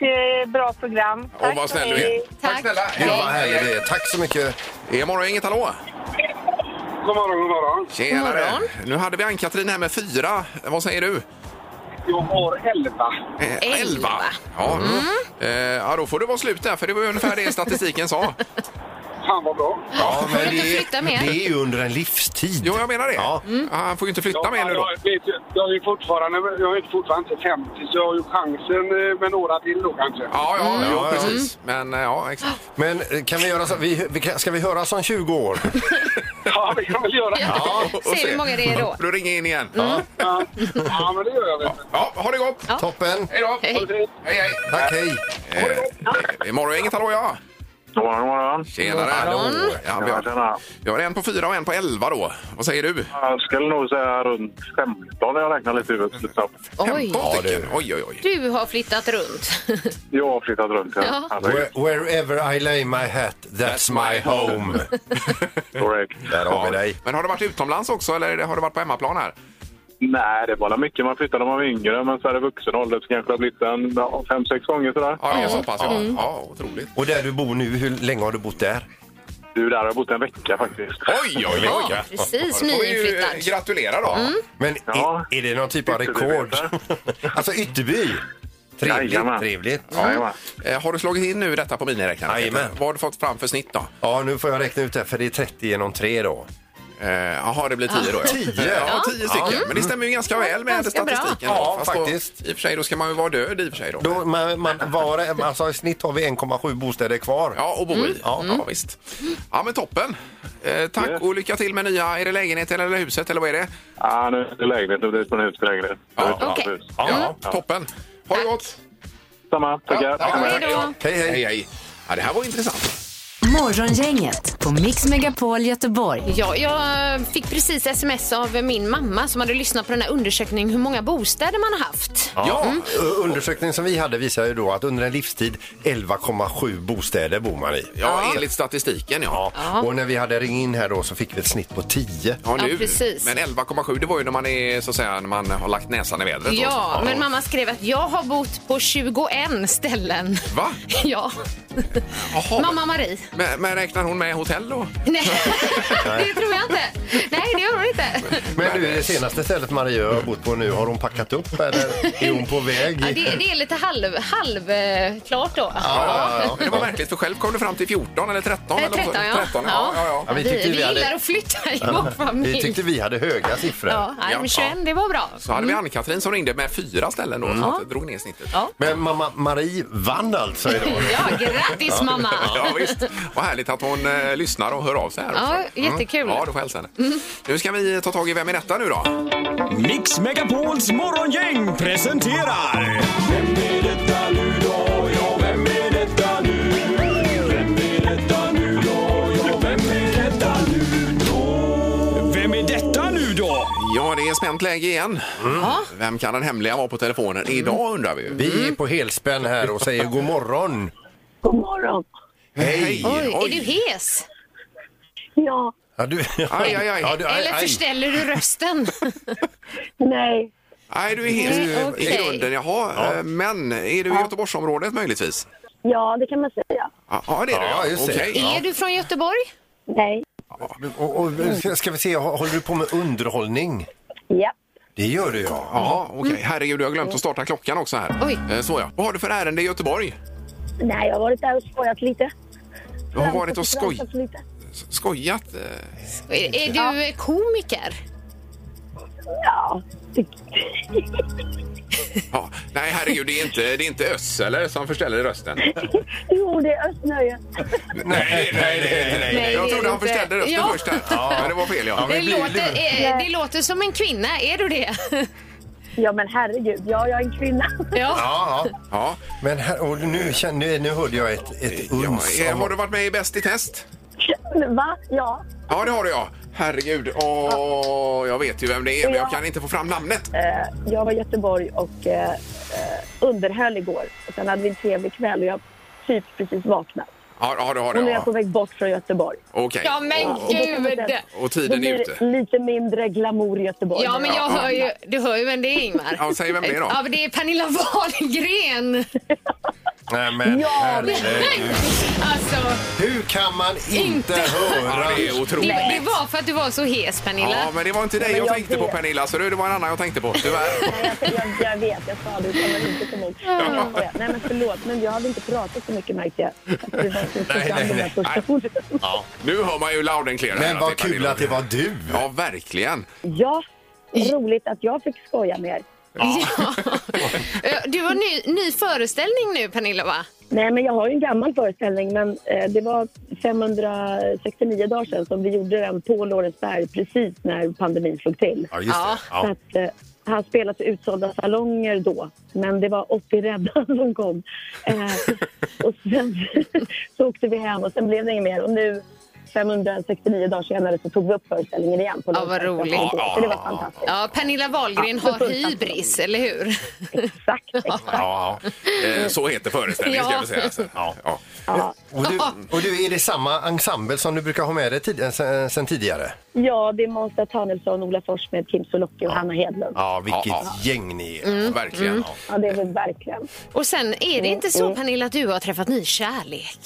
Speaker 2: eh, bra program.
Speaker 4: Och vad snäll du är.
Speaker 2: hej.
Speaker 6: Tack.
Speaker 4: snälla.
Speaker 5: Gud vad
Speaker 4: Hej.
Speaker 5: härligt det är. Tack så mycket.
Speaker 4: Är morgon, inget hallå?
Speaker 1: God morgon, god morgon.
Speaker 6: God
Speaker 4: Tjenare.
Speaker 6: morgon.
Speaker 4: Nu hade vi Ann-Katrin här med fyra. Vad säger du?
Speaker 1: Jag har elva.
Speaker 4: Eh,
Speaker 6: Elva. Mm.
Speaker 4: Ja. Eh, ja, då får du vara slut där, för det var ungefär det statistiken sa.
Speaker 1: Fan vad bra.
Speaker 5: Ja, men
Speaker 6: inte
Speaker 5: det,
Speaker 6: flytta mer.
Speaker 5: det är ju under en livstid.
Speaker 4: Jo, jag menar det.
Speaker 5: Ja.
Speaker 6: Mm.
Speaker 4: Ah, Han får ju inte flytta mer nu då.
Speaker 1: Jag, vet, ju- jag, är ju fortfarande, jag är ju fortfarande inte 50 så jag har ju chansen eh, med några till då kanske.
Speaker 4: Ja, ja,
Speaker 6: Mm.
Speaker 4: jo,
Speaker 5: Ja, ja.
Speaker 4: precis. Men eh, ja, exakt.
Speaker 5: Men eh, kan vi göra så? Vi, vi, kan- ska vi höra som 20 år?
Speaker 1: Ja, det kan väl göra.
Speaker 4: Ja, och
Speaker 6: Ser
Speaker 4: se.
Speaker 6: hur många det är då.
Speaker 4: Du ringer in igen. Ja.
Speaker 1: Ja, ja men det gör jag. Vet. du.
Speaker 4: ha det gott!
Speaker 6: Ja.
Speaker 5: Toppen.
Speaker 4: Hej då!
Speaker 6: Hej.
Speaker 4: Hej, hej!
Speaker 5: Tack, hej.
Speaker 4: Eh, morgon, inget hallå ja!
Speaker 7: God morgon, god morgon.
Speaker 4: Tjenare!
Speaker 5: Hallå.
Speaker 4: Ja, vi, har,
Speaker 7: Tjena.
Speaker 4: vi har en på fyra och en på elva då. Vad säger du?
Speaker 7: Jag skulle nog säga runt 15 när jag räknar lite huvudet.
Speaker 10: Mm.
Speaker 7: liksom. lite snabbt.
Speaker 6: Oj.
Speaker 4: Ja,
Speaker 5: du.
Speaker 4: stycken. Oj, oj, oj.
Speaker 6: Du har flyttat runt.
Speaker 7: Jag har flyttat runt.
Speaker 6: Ja.
Speaker 7: Ja. Herregud.
Speaker 5: Where, wherever I lay my hat, that's my home.
Speaker 7: Korrekt.
Speaker 5: Där har vi dig.
Speaker 4: Men har du varit utomlands också eller är det- har du varit på hemmaplan här?
Speaker 7: Nej, det var väl mycket man flyttade när man var yngre. Men så här i vuxen ålder så kanske det har blivit en ja, fem, sex gånger sådär.
Speaker 4: Ja, det är så pass. Ja, ja otroligt.
Speaker 5: Och där du bor nu, hur länge har du bott där?
Speaker 7: Du, där har jag bott en vecka faktiskt.
Speaker 4: Oj, oj, oj!
Speaker 6: Ja, precis.
Speaker 4: Då får vi ju eh,
Speaker 6: Nyinflyttad.
Speaker 4: gratulera då.
Speaker 5: Men
Speaker 7: Ja.
Speaker 5: är, är det någon typ av rekord? alltså Ytterby. Trevligt,
Speaker 7: Jajamän.
Speaker 5: trevligt.
Speaker 7: Jajamän.
Speaker 4: Eh, Har du slagit in nu detta på miniräknaren? Peter?
Speaker 5: Jajamän.
Speaker 4: Vad har du fått fram för snitt då?
Speaker 5: Ja, nu får jag räkna ut det här, för det är 30 genom 3 då.
Speaker 4: Eh, Jaha, det blir tio då. Ja.
Speaker 5: Ah, Tio?
Speaker 4: Ja, tio stycken.
Speaker 5: Ja.
Speaker 4: Men det stämmer ju ganska väl med
Speaker 6: Ganska bra.
Speaker 4: statistiken. då.
Speaker 5: Ja,
Speaker 4: då-
Speaker 5: faktiskt.
Speaker 4: I och för sig, då ska man ju vara död i och för sig då.
Speaker 5: då man, man, var, alltså, I snitt har vi 1,7 bostäder kvar.
Speaker 4: Ja, och bo i. Ja, ja, visst. Ja, men toppen. Eh, tack
Speaker 7: Yes.
Speaker 4: och lycka till med nya. Är det lägenheten eller huset eller vad är det?
Speaker 7: Ja, Ah, nu är det lägenhet. Nu blir det på en hus till lägenhet.
Speaker 4: Ja,
Speaker 7: Ja,
Speaker 6: okej.
Speaker 5: Ja.
Speaker 4: Toppen. Ha det gott.
Speaker 7: Samma. Tackar.
Speaker 4: Ja, tack.
Speaker 7: Tack.
Speaker 6: Hej då.
Speaker 5: Hej, hej.
Speaker 4: Hej, hej. Ja, det här var intressant.
Speaker 3: Morgongänget på Mix Megapol Göteborg.
Speaker 6: Ja, jag fick precis sms av min mamma som hade lyssnat på den här undersökningen hur många bostäder man har haft.
Speaker 5: Ja, Mm. ö- undersökningen som vi hade visar ju då att under en livstid 11,7 bostäder bor man i.
Speaker 4: Ja, enligt statistiken, ja.
Speaker 5: Och när vi hade ring in här då så fick vi ett snitt på 10.
Speaker 4: Ja, nu.
Speaker 6: Ja, precis.
Speaker 4: Men 11,7 det var ju när man, är, så att säga, när man har lagt näsan i vädret. och så.
Speaker 6: Ja, men mamma skrev att jag har bott på 21 ställen.
Speaker 4: Va?
Speaker 6: Ja.
Speaker 4: Jaha.
Speaker 6: Mamma Marie.
Speaker 4: Men, men räknar hon med hotell då?
Speaker 6: Nej, det tror jag inte. Nej, det gör hon inte.
Speaker 5: Men nu är det senaste stället Maria har bott på nu, har hon packat upp eller är hon på väg?
Speaker 6: Ja, det, det är lite halv, halv eh, klart då.
Speaker 5: ja,
Speaker 4: Men det var märkligt, för själv kom du fram till 14 eller 13.
Speaker 6: Nej,
Speaker 4: eller vad-
Speaker 6: 13, Eh, ja.
Speaker 4: 13 ja. Ja, ja,
Speaker 5: Ja,
Speaker 6: vi,
Speaker 5: vi tyckte
Speaker 6: vi
Speaker 5: vi hade-
Speaker 6: gillar att flytta i vår familj.
Speaker 5: Vi tyckte vi hade höga siffror.
Speaker 6: Ja, nej, men 21, det var bra.
Speaker 4: Så hade vi Ann-Katrin som ringde med fyra ställen då, så att det drog ner snittet.
Speaker 6: Ja.
Speaker 5: Men mamma Marie vann alltså idag.
Speaker 6: Mm. Ja, grattis mamma!
Speaker 4: Ja, visst. Vad härligt att hon eh, lyssnar och hör av sig här
Speaker 6: Ja,
Speaker 4: också.
Speaker 6: jättekul.
Speaker 4: Ja, du får hälsa henne. Nu ska vi eh, ta tag i Vem är detta nu då?
Speaker 7: Mix Megapols morgongäng presenterar... Vem är detta nu då? Ja, vem är detta nu? Vem är detta nu då? Ja, vem är detta nu då? Vem är detta nu då?
Speaker 4: Ja, det är spänt läge igen. Vem kan den hemliga vara på telefonen idag undrar vi ju.
Speaker 5: Vi är på helspänn här och säger god morgon.
Speaker 2: God morgon.
Speaker 4: Hej!
Speaker 6: Oj, är du hes?
Speaker 2: Ja,
Speaker 5: Ja, du...
Speaker 4: Aj, aj, aj.
Speaker 5: Ja, du,
Speaker 6: Eller förställer du rösten?
Speaker 2: nej,
Speaker 4: Nej, du är helt eh,
Speaker 6: Okej.
Speaker 4: i grunden. Jaha,
Speaker 5: Ja.
Speaker 4: Eh, men är du i Göteborgsområdet möjligtvis?
Speaker 2: ja det kan man säga.
Speaker 4: Ja, ja, det är du.
Speaker 5: Ja, just det.
Speaker 4: Okej.
Speaker 6: Är du från Göteborg?
Speaker 2: Nej,
Speaker 5: Och, och, ska- ska vi se, håller du på med underhållning?
Speaker 2: ja.
Speaker 5: Det gör du ja.
Speaker 4: Ja,
Speaker 2: Mm.
Speaker 4: okej. Herregud, jag har glömt att starta klockan också här.
Speaker 6: Oj.
Speaker 4: Eh, Så ja. Vad har du för ärende i Göteborg?
Speaker 2: Nej, jag har varit där och skojat lite.
Speaker 4: Du har varit och skoj...
Speaker 2: Tramsat lite.
Speaker 4: skojat. eh.
Speaker 6: Är, är du eh, komiker?
Speaker 2: Ja.
Speaker 4: Ja. Nej, herregud, det är inte, det är inte Öss eller som förställer rösten.
Speaker 2: Jo, det är Östnöje.
Speaker 4: nej, nej, nej, nej,
Speaker 6: Nej,
Speaker 4: Jag
Speaker 6: det är
Speaker 4: trodde han
Speaker 6: inte.
Speaker 4: förställde rösten
Speaker 6: Ja.
Speaker 4: först här. Men det var fel, ja.
Speaker 6: Det låter, eh, det låter som en kvinna, är du det?
Speaker 2: Ja, men herregud. Ja, jag är en kvinna.
Speaker 6: Ja.
Speaker 5: Ja, ja.
Speaker 4: ja.
Speaker 5: Men här, och nu, känner- nu, nu hörde jag ett, ett
Speaker 4: ja.
Speaker 5: uns.
Speaker 4: eh,
Speaker 5: om-
Speaker 4: Har du varit med i Bäst i test?
Speaker 2: Va? Ja.
Speaker 4: Ja, det har du, ja. Herregud, åh, jag vet ju vem det är, men jag kan inte få fram namnet.
Speaker 2: Eh, Jag var i Göteborg och eh, eh, underhöll igår. Och sen hade vi en trevlig kväll och jag typ precis vaknat.
Speaker 4: Ja, ja det har
Speaker 2: Och
Speaker 4: du,
Speaker 2: nu är jag på
Speaker 4: ja.
Speaker 2: väg bort från Göteborg.
Speaker 4: Okej.
Speaker 6: ja, men
Speaker 2: Och då kan man säga
Speaker 6: gud!
Speaker 2: att
Speaker 4: Och
Speaker 2: det
Speaker 4: tiden är
Speaker 2: blir
Speaker 4: ute.
Speaker 2: lite mindre glamour i Göteborg.
Speaker 6: Ja, men jag hör ju, du hör ju vem det är, Ingmar.
Speaker 4: Ja, säg vem det är då.
Speaker 6: Ja, men det är Pernilla Wahlgren.
Speaker 5: Nej, men,
Speaker 2: Ja,
Speaker 5: herregud.
Speaker 6: Alltså,
Speaker 5: Hur kan man inte
Speaker 6: Inte.
Speaker 5: höra?
Speaker 4: Ja, det är
Speaker 6: det,
Speaker 4: otroligt.
Speaker 6: det var för att du var så hes,
Speaker 4: Ja,
Speaker 6: Pernilla.
Speaker 4: men det var inte dig
Speaker 2: men
Speaker 4: jag,
Speaker 2: jag
Speaker 4: tänkte
Speaker 2: vet.
Speaker 4: på Pernilla, så det var en annan jag tänkte på, tyvärr.
Speaker 2: Nej, jag, jag, jag vet, jag sa det. Du kommer inte komma ihåg. Jag skojar. Nej, men förlåt, men jag hade inte pratat så mycket märkte jag. Att Det var så
Speaker 5: Nej, nej,
Speaker 2: fram de här
Speaker 5: nej.
Speaker 2: första orden.
Speaker 4: nu hör man ju loud and clear. här
Speaker 5: Men vad
Speaker 4: det är
Speaker 5: kul
Speaker 4: Pernilla.
Speaker 5: att det var du.
Speaker 4: Ja, verkligen.
Speaker 2: Ja, roligt att jag fick skoja med er.
Speaker 6: Ja. Eh, Du har ny, ny föreställning nu, Pernilla, va?
Speaker 2: Nej, men jag har ju en gammal föreställning, men eh, det var 569 dagar sedan som vi gjorde den på Lorensberg precis när pandemin slog till.
Speaker 5: Ja, just det.
Speaker 2: Så
Speaker 5: Ja.
Speaker 2: att, eh, han spelade till utsålda salonger då, men det var 80 rädda som kom. Eh, och sen så åkte vi hem och sen blev det inget mer. Och nu 569 dagar senare så tog vi upp föreställningen igen. På
Speaker 6: Ja, vad
Speaker 2: Lorensberg.
Speaker 6: roligt.
Speaker 2: Så det var fantastiskt.
Speaker 6: Ja, Pernilla Wahlgren
Speaker 2: Ja,
Speaker 6: har hybris, eller hur?
Speaker 2: Exakt, exakt.
Speaker 5: Ja, ja.
Speaker 4: Eh, så heter föreställningen, ska
Speaker 6: Ja.
Speaker 4: vi säga. Alltså. Ja. Ja.
Speaker 5: Och, du, och du, är det samma ensemble som du brukar ha med dig tid, sen, sen tidigare?
Speaker 2: Ja, det är Månsa Tanelsson, Ola Forssmed, Kim Sulocki och Hanna Hedlund.
Speaker 5: Ja, vilket
Speaker 4: Ja,
Speaker 5: gäng ni är.
Speaker 4: Mm. Verkligen. Ja.
Speaker 2: Ja, det är väl verkligen.
Speaker 6: Och sen är det inte så, Pernilla, att du har träffat ny kärlek?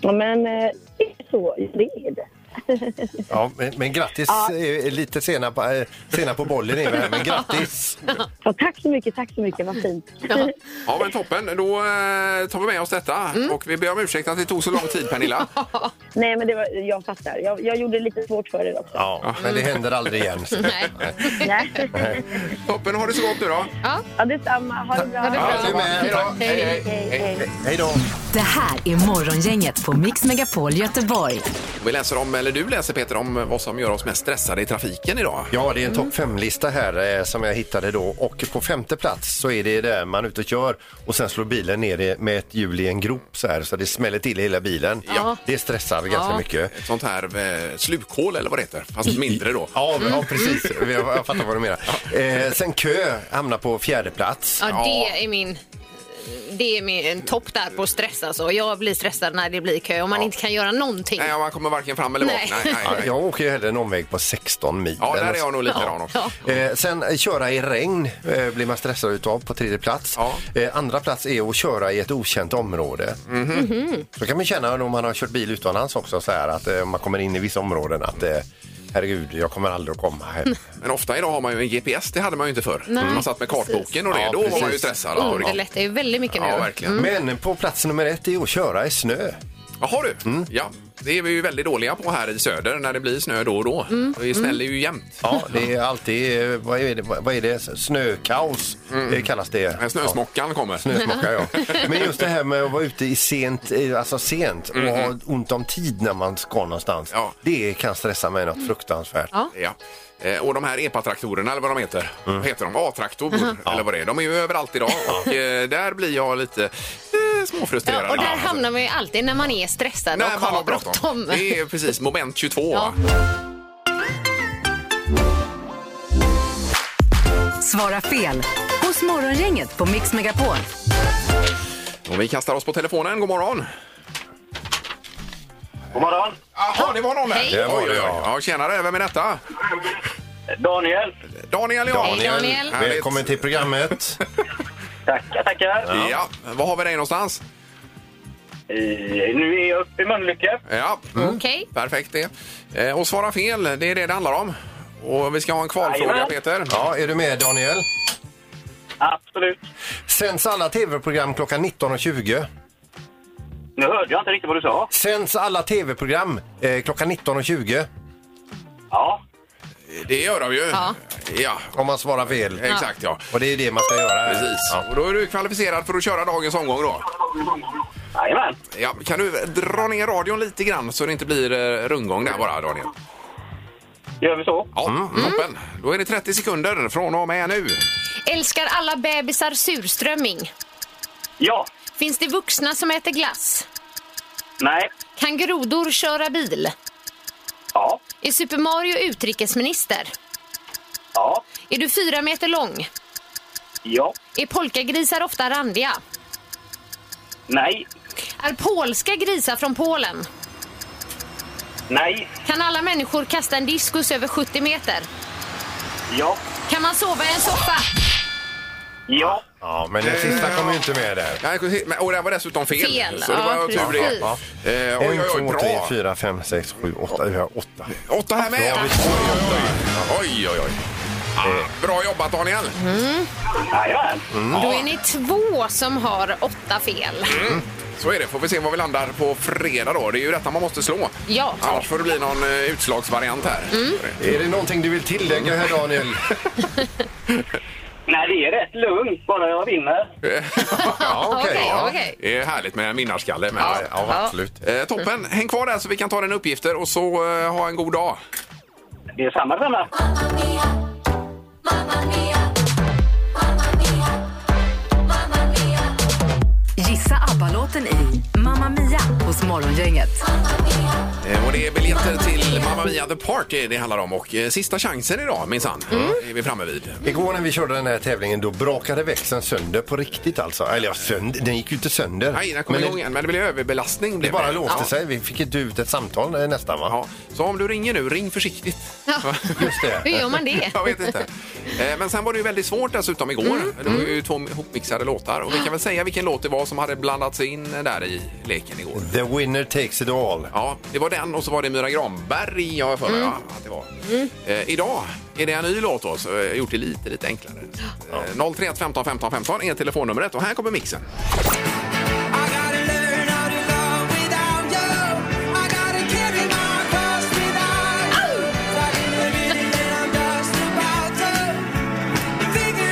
Speaker 2: Ja, men eh, det är så. Det är det.
Speaker 5: Ja, men, men grattis, eh, lite sena på, eh, sena på bollen är vi här, men grattis.
Speaker 2: Ja, tack så mycket, tack så mycket. Vad fint.
Speaker 4: men toppen. Då eh, tar vi med oss detta. Och vi ber om ursäkt att det tog så lång tid, Pernilla.
Speaker 2: Nej, men det var, jag fattar. Jag, jag gjorde det lite svårt för er också.
Speaker 5: Ja, men det händer aldrig igen.
Speaker 6: Nej.
Speaker 2: Nej.
Speaker 4: Toppen, har det så gott nu då.
Speaker 2: Ja, detsamma. Ha det bra.
Speaker 5: Ja, du med. Tack.
Speaker 4: Hej, hej.
Speaker 2: Hej, hej.
Speaker 5: Hej då.
Speaker 3: Det här är Morgongänget på Mix Megapol Göteborg.
Speaker 4: Vi läser om, eller du läser Peter, om vad som gör oss mest stressade i trafiken idag.
Speaker 5: Ja, det är en topp fem-lista här eh, som jag hittade då och på femte plats så är det där man är ute och kör och sen slår bilen ner i- med ett hjul i en grop så här så det smäller till i hela bilen. Ja. Det stressar ganska mycket.
Speaker 4: Ett sånt här eh, slukhål eller vad det heter, fast mindre då.
Speaker 5: Ja, men- ja precis. Jag, jag fattar vad du menar. Eh, sen kö hamnar på fjärde plats.
Speaker 6: Ja, det är min... Det är min en topp där på stress alltså. Jag blir stressad när det blir kö och man inte kan göra någonting.
Speaker 4: Nej, man kommer varken fram eller bak.
Speaker 6: Nej.
Speaker 4: Nej, nej,
Speaker 5: Ja,
Speaker 4: nej.
Speaker 5: Jag åker ju hellre en omväg på 16 mil.
Speaker 4: Ja,
Speaker 5: Den
Speaker 4: där är
Speaker 5: och-
Speaker 4: jag nog likadan också.
Speaker 5: Eh, sen eh, köra i regn eh, blir man stressad utav på tredje plats.
Speaker 4: Ja.
Speaker 5: Eh, andra plats är att köra i ett okänt område. Så kan man känna om man har kört bil utomlands också så här att eh, man kommer in i vissa områden att eh, herregud, jag kommer aldrig att komma hem.
Speaker 4: Men ofta idag har man ju en GPS, det hade man ju inte förr.
Speaker 6: Nej.
Speaker 4: Man satt med kartboken och det,
Speaker 5: Ja,
Speaker 4: då var man ju
Speaker 5: precis.
Speaker 4: stressad.
Speaker 6: Ja,
Speaker 4: Ja, ja. Mhm.
Speaker 6: Mm. Underlättar ju väldigt mycket nu.
Speaker 4: verkligen.
Speaker 5: Men på plats nummer ett är att köra i snö.
Speaker 4: Jaha du, ja. Det är vi ju väldigt dåliga på här i söder när det blir snö då och då.
Speaker 5: Mm.
Speaker 4: Vi smäller ju jämt.
Speaker 5: Ja, det är alltid, eh, vad är det, vad är det? snökaos eh, kallas det.
Speaker 4: Men snösmockan kommer.
Speaker 5: Snösmocka, ja. Men just det här med att vara ute i sent, eh, alltså sent och ha ont om tid när man ska någonstans. Det kan stressa mig något fruktansvärt.
Speaker 6: Ja.
Speaker 4: Ja. Eh, Och de här epatraktorerna eller vad de heter,
Speaker 5: Mm.
Speaker 4: vad heter de? A-traktor
Speaker 6: Mm.
Speaker 4: eller vad det är. De är ju överallt idag och eh, där blir jag lite eh, småfrustrerad.
Speaker 6: Och där hamnar man ju alltid när man är stressad
Speaker 4: Nej,
Speaker 6: och
Speaker 4: man
Speaker 6: har
Speaker 4: har bråttom.
Speaker 6: bråttom.
Speaker 4: Det är precis moment 22.
Speaker 6: Ja.
Speaker 3: Svara fel hos Morgongänget på Mix Megapol.
Speaker 4: Och vi kastar oss på telefonen. God morgon!
Speaker 11: God morgon!
Speaker 4: Jaha, det var någon där.
Speaker 11: Hej.
Speaker 4: Det var det, ja. ja, tjenare, vem är detta?
Speaker 11: Daniel.
Speaker 4: Daniel, ja.
Speaker 11: Hej, Daniel.
Speaker 4: Härligt.
Speaker 5: Välkommen till programmet.
Speaker 11: Tackar, tackar.
Speaker 4: Ja. Var har vi dig någonstans?
Speaker 11: Eh, Nu är jag uppe i Mölnlycke.
Speaker 4: Ja,
Speaker 6: Okej.
Speaker 4: perfekt det. Eh, Och svara fel, det är det det handlar om. Och vi ska ha en kvalfråga,
Speaker 5: Jajamän.
Speaker 4: Peter.
Speaker 5: Ja, är du med Daniel?
Speaker 11: Absolut.
Speaker 5: Sänds alla tv-program klockan 19.20?
Speaker 11: Nu hörde jag inte riktigt vad du sa.
Speaker 5: Sänds alla tv-program eh, klockan 19.20?
Speaker 11: Ja.
Speaker 4: Det gör de ju.
Speaker 11: Ja.
Speaker 4: Ja.
Speaker 5: Om man svarar fel.
Speaker 4: Exakt, ja.
Speaker 5: Och det är det man ska göra.
Speaker 4: Precis. Och då är du kvalificerad för att köra dagens omgång då?
Speaker 11: Jajamän.
Speaker 4: Ja, kan du dra ner radion lite grann så det inte blir eh, rundgång där bara, Daniel?
Speaker 11: Gör vi så?
Speaker 4: Ja,
Speaker 6: Mm.
Speaker 4: toppen. Då är det 30 sekunder från och med nu.
Speaker 6: Älskar alla bebisar surströmming?
Speaker 11: Ja.
Speaker 6: Finns det vuxna som äter glass?
Speaker 11: Nej.
Speaker 6: Kan grodor köra bil?
Speaker 11: Ja.
Speaker 6: Är Super Mario utrikesminister?
Speaker 11: Ja.
Speaker 6: Är du fyra meter lång?
Speaker 11: Ja.
Speaker 6: Är polkagrisar ofta randiga?
Speaker 11: Nej.
Speaker 6: Är polska grisar från Polen?
Speaker 11: Nej.
Speaker 6: Kan alla människor kasta en diskus över 70 meter?
Speaker 11: Ja.
Speaker 6: Kan man sova i en soffa?
Speaker 11: Ja.
Speaker 5: Ja, men den sista kommer ju inte med där.
Speaker 4: Nej, men- och det här var dessutom fel.
Speaker 6: Fel,
Speaker 4: Så det
Speaker 6: ja,
Speaker 4: var
Speaker 6: precis.
Speaker 4: tur det.
Speaker 5: Ja.
Speaker 4: Eh, oj, oj, oj,
Speaker 5: 1, 2, 3,
Speaker 4: bra.
Speaker 5: 4, 5, 6, 7, 8. Vi har 8.
Speaker 4: Åtta här med.
Speaker 5: Ja,
Speaker 4: Oj, oj, oj. oj, oj. Ah, bra jobbat, Daniel.
Speaker 6: Mm.
Speaker 11: Jajamän.
Speaker 6: Då är ni två som har åtta fel.
Speaker 4: Så är det. Får vi se var vi landar på fredag då. Det är ju detta man måste slå.
Speaker 6: Ja. Mm.
Speaker 4: Annars får det bli någon eh, utslagsvariant här.
Speaker 5: Är det någonting du vill tillägga här, Daniel?
Speaker 11: Nej, det är rätt lugnt. Bara jag vinner.
Speaker 4: ja,
Speaker 11: okej, Okej, ja.
Speaker 6: okej.
Speaker 4: Det är härligt med en vinnarskalle. Men ja,
Speaker 5: absolut.
Speaker 4: Eh, toppen. Häng kvar där så vi kan ta dina uppgifter och så eh, ha en god dag.
Speaker 11: Det är samma, samma.
Speaker 3: Gissa ABBA-låten i Mamma Mia hos Morgongänget.
Speaker 4: Eh, och det är biljetter till Mamma Mia The Party det handlar om och eh, sista chansen idag minsann. är vi framme vid.
Speaker 5: Igår när vi körde den här tävlingen då brakade växeln sönder på riktigt alltså. Eller ja, sönder, den gick ju inte sönder.
Speaker 4: Nej, den kom
Speaker 5: Men
Speaker 4: igång igen, men det blev överbelastning.
Speaker 5: Det
Speaker 4: blev
Speaker 5: bara låste
Speaker 4: Ja.
Speaker 5: sig. Vi fick inte ut ett samtal eh, nästan va? Ja.
Speaker 4: Så om du ringer nu, ring försiktigt.
Speaker 5: Just det.
Speaker 6: Hur gör man det?
Speaker 4: Jag vet inte. Eh, Men sen var det ju väldigt svårt dessutom igår. Det var ju två hopmixade låtar. Och vi kan väl säga vilken låt det var som hade blandats in där i leken igår.
Speaker 5: The winner takes it all.
Speaker 4: Ja, det var den och så var det Myra Granberg jag har
Speaker 5: Mm.
Speaker 4: för mig va? att det var. Eh, idag är det en ny låt då, så jag har gjort det lite, lite enklare. Så, att, eh, 031 15 15 15 är telefonnumret och här kommer mixen.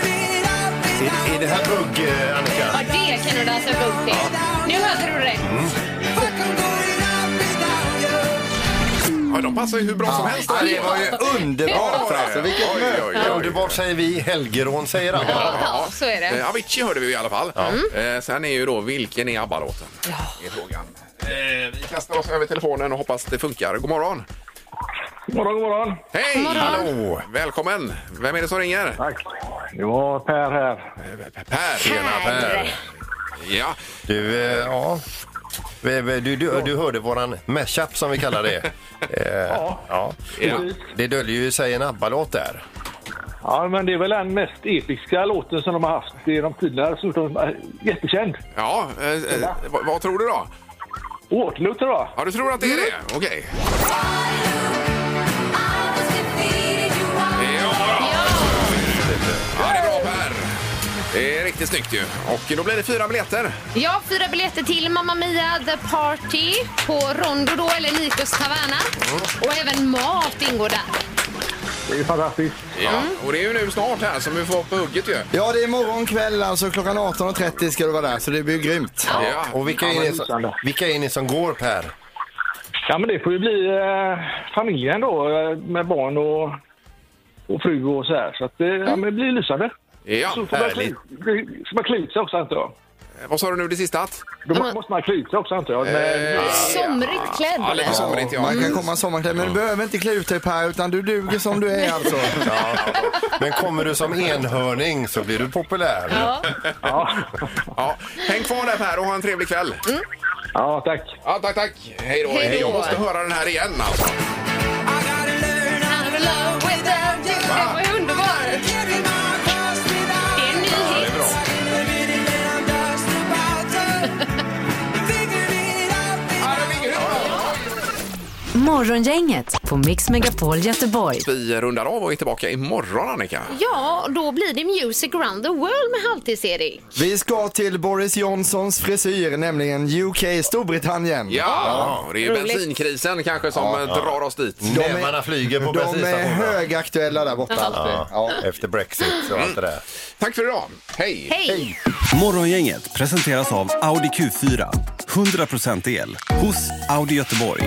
Speaker 5: Är, är det här bugg, eh,
Speaker 6: Ja,
Speaker 5: Annika?
Speaker 6: det kan du dansa upp till. Nu hörde du rätt.
Speaker 4: Ja, de passar ju hur bra som helst.
Speaker 5: Ja, det var ju underbart alltså. Vilket
Speaker 4: Oj, oj, oj, oj.
Speaker 5: Underbart säger vi, Helgerån säger alla.
Speaker 6: Ja, så är
Speaker 4: Eh,
Speaker 6: det.
Speaker 4: Avicii hörde vi ju i alla fall.
Speaker 5: Mm.
Speaker 4: Eh, sen är ju då, vilken är ABBA-låten? Är frågan. Eh, vi kastar oss över telefonen och hoppas det funkar. God morgon!
Speaker 10: morgon, god morgon.
Speaker 4: Hej! Hallå! Välkommen! Vem är det som ringer? Tack.
Speaker 10: Det var Per här.
Speaker 4: Per. Tjena, Per. Ja.
Speaker 5: Eh, Du, eh, ja. Vi- vi- Du, du, du hörde våran mashup som vi kallar det. ja. ja.
Speaker 10: Ja.
Speaker 5: Det döljer ju sig en ABBA-låt där.
Speaker 10: Ja, men det är väl den mest episka låten som de har haft genom tiderna. Så de är Jättekänd.
Speaker 4: Ja, eh, eh, vad, vad tror du då?
Speaker 10: Waterloo tror jag.
Speaker 4: Ja, du tror att det
Speaker 7: Mm.
Speaker 4: är det? Okej. Ja, bra. Ja, det är bra Per. Det är riktigt snyggt ju. Och då blir det fyra biljetter.
Speaker 6: Ja, fyra biljetter till Mamma Mia The Party på Rondo då, eller Nikos Taverna. Och även mat ingår där.
Speaker 7: Det är fantastiskt.
Speaker 4: Ja, och det är ju nu snart här som vi får vara på hugget ju.
Speaker 2: Ja, det är imorgon kväll alltså. Klockan 18.30 ska du vara där, så det blir grymt.
Speaker 4: Ja.
Speaker 5: Och vilka är, ni som, vilka är ni som går, Per?
Speaker 7: Ja, men det får ju bli eh, familjen då eh, med barn och, och fru och så här. Så att, eh, ja, men det blir lysande.
Speaker 4: Ja, Eh,
Speaker 7: så får man klä, ska man klä ut sig också antar jag.
Speaker 4: Vad sa du nu det sista? Eh, Att?
Speaker 7: Då må- måste man klä ut sig också antar jag. Men,
Speaker 6: Somrigt klädd,
Speaker 4: Ja, lite somrigt, ja. Mm.
Speaker 2: Man kan komma sommarklädd, men du behöver inte klä ut dig Per, utan du duger som du är alltså.
Speaker 5: Ja. Men kommer du som enhörning så blir du populär.
Speaker 6: Ja.
Speaker 4: Ja. Häng kvar där Per och ha en trevlig kväll.
Speaker 7: Mm. Ja, tack.
Speaker 4: Ja, tack, tack. Hej då.
Speaker 6: Hej då.
Speaker 4: Jag måste höra den här igen alltså.
Speaker 6: Den var ju underbar! Det är en ny hit.
Speaker 9: Morgongänget på Mix Megapol Göteborg.
Speaker 4: Vi rundar av och är tillbaka imorgon Annika.
Speaker 6: Ja, då blir det Music Around the World med halvtids-Erik.
Speaker 2: Vi ska till Boris Johnsons frisyr, nämligen UK, Storbritannien.
Speaker 4: Ja, det är ju
Speaker 6: Roligt.
Speaker 4: bensinkrisen kanske som
Speaker 5: Ja,
Speaker 4: eh,
Speaker 5: ja.
Speaker 4: drar oss dit.
Speaker 5: De är- Nävarna flyger på
Speaker 2: De är
Speaker 5: bensinstationerna.
Speaker 2: högaktuella där borta.
Speaker 5: Ja.
Speaker 2: alltså.
Speaker 5: Efter Brexit och allt det där.
Speaker 12: Mm.
Speaker 4: Tack för idag. Hej!
Speaker 6: Hej!
Speaker 13: Morgongänget presenteras av Audi Q4. 100% el hos Audi Göteborg.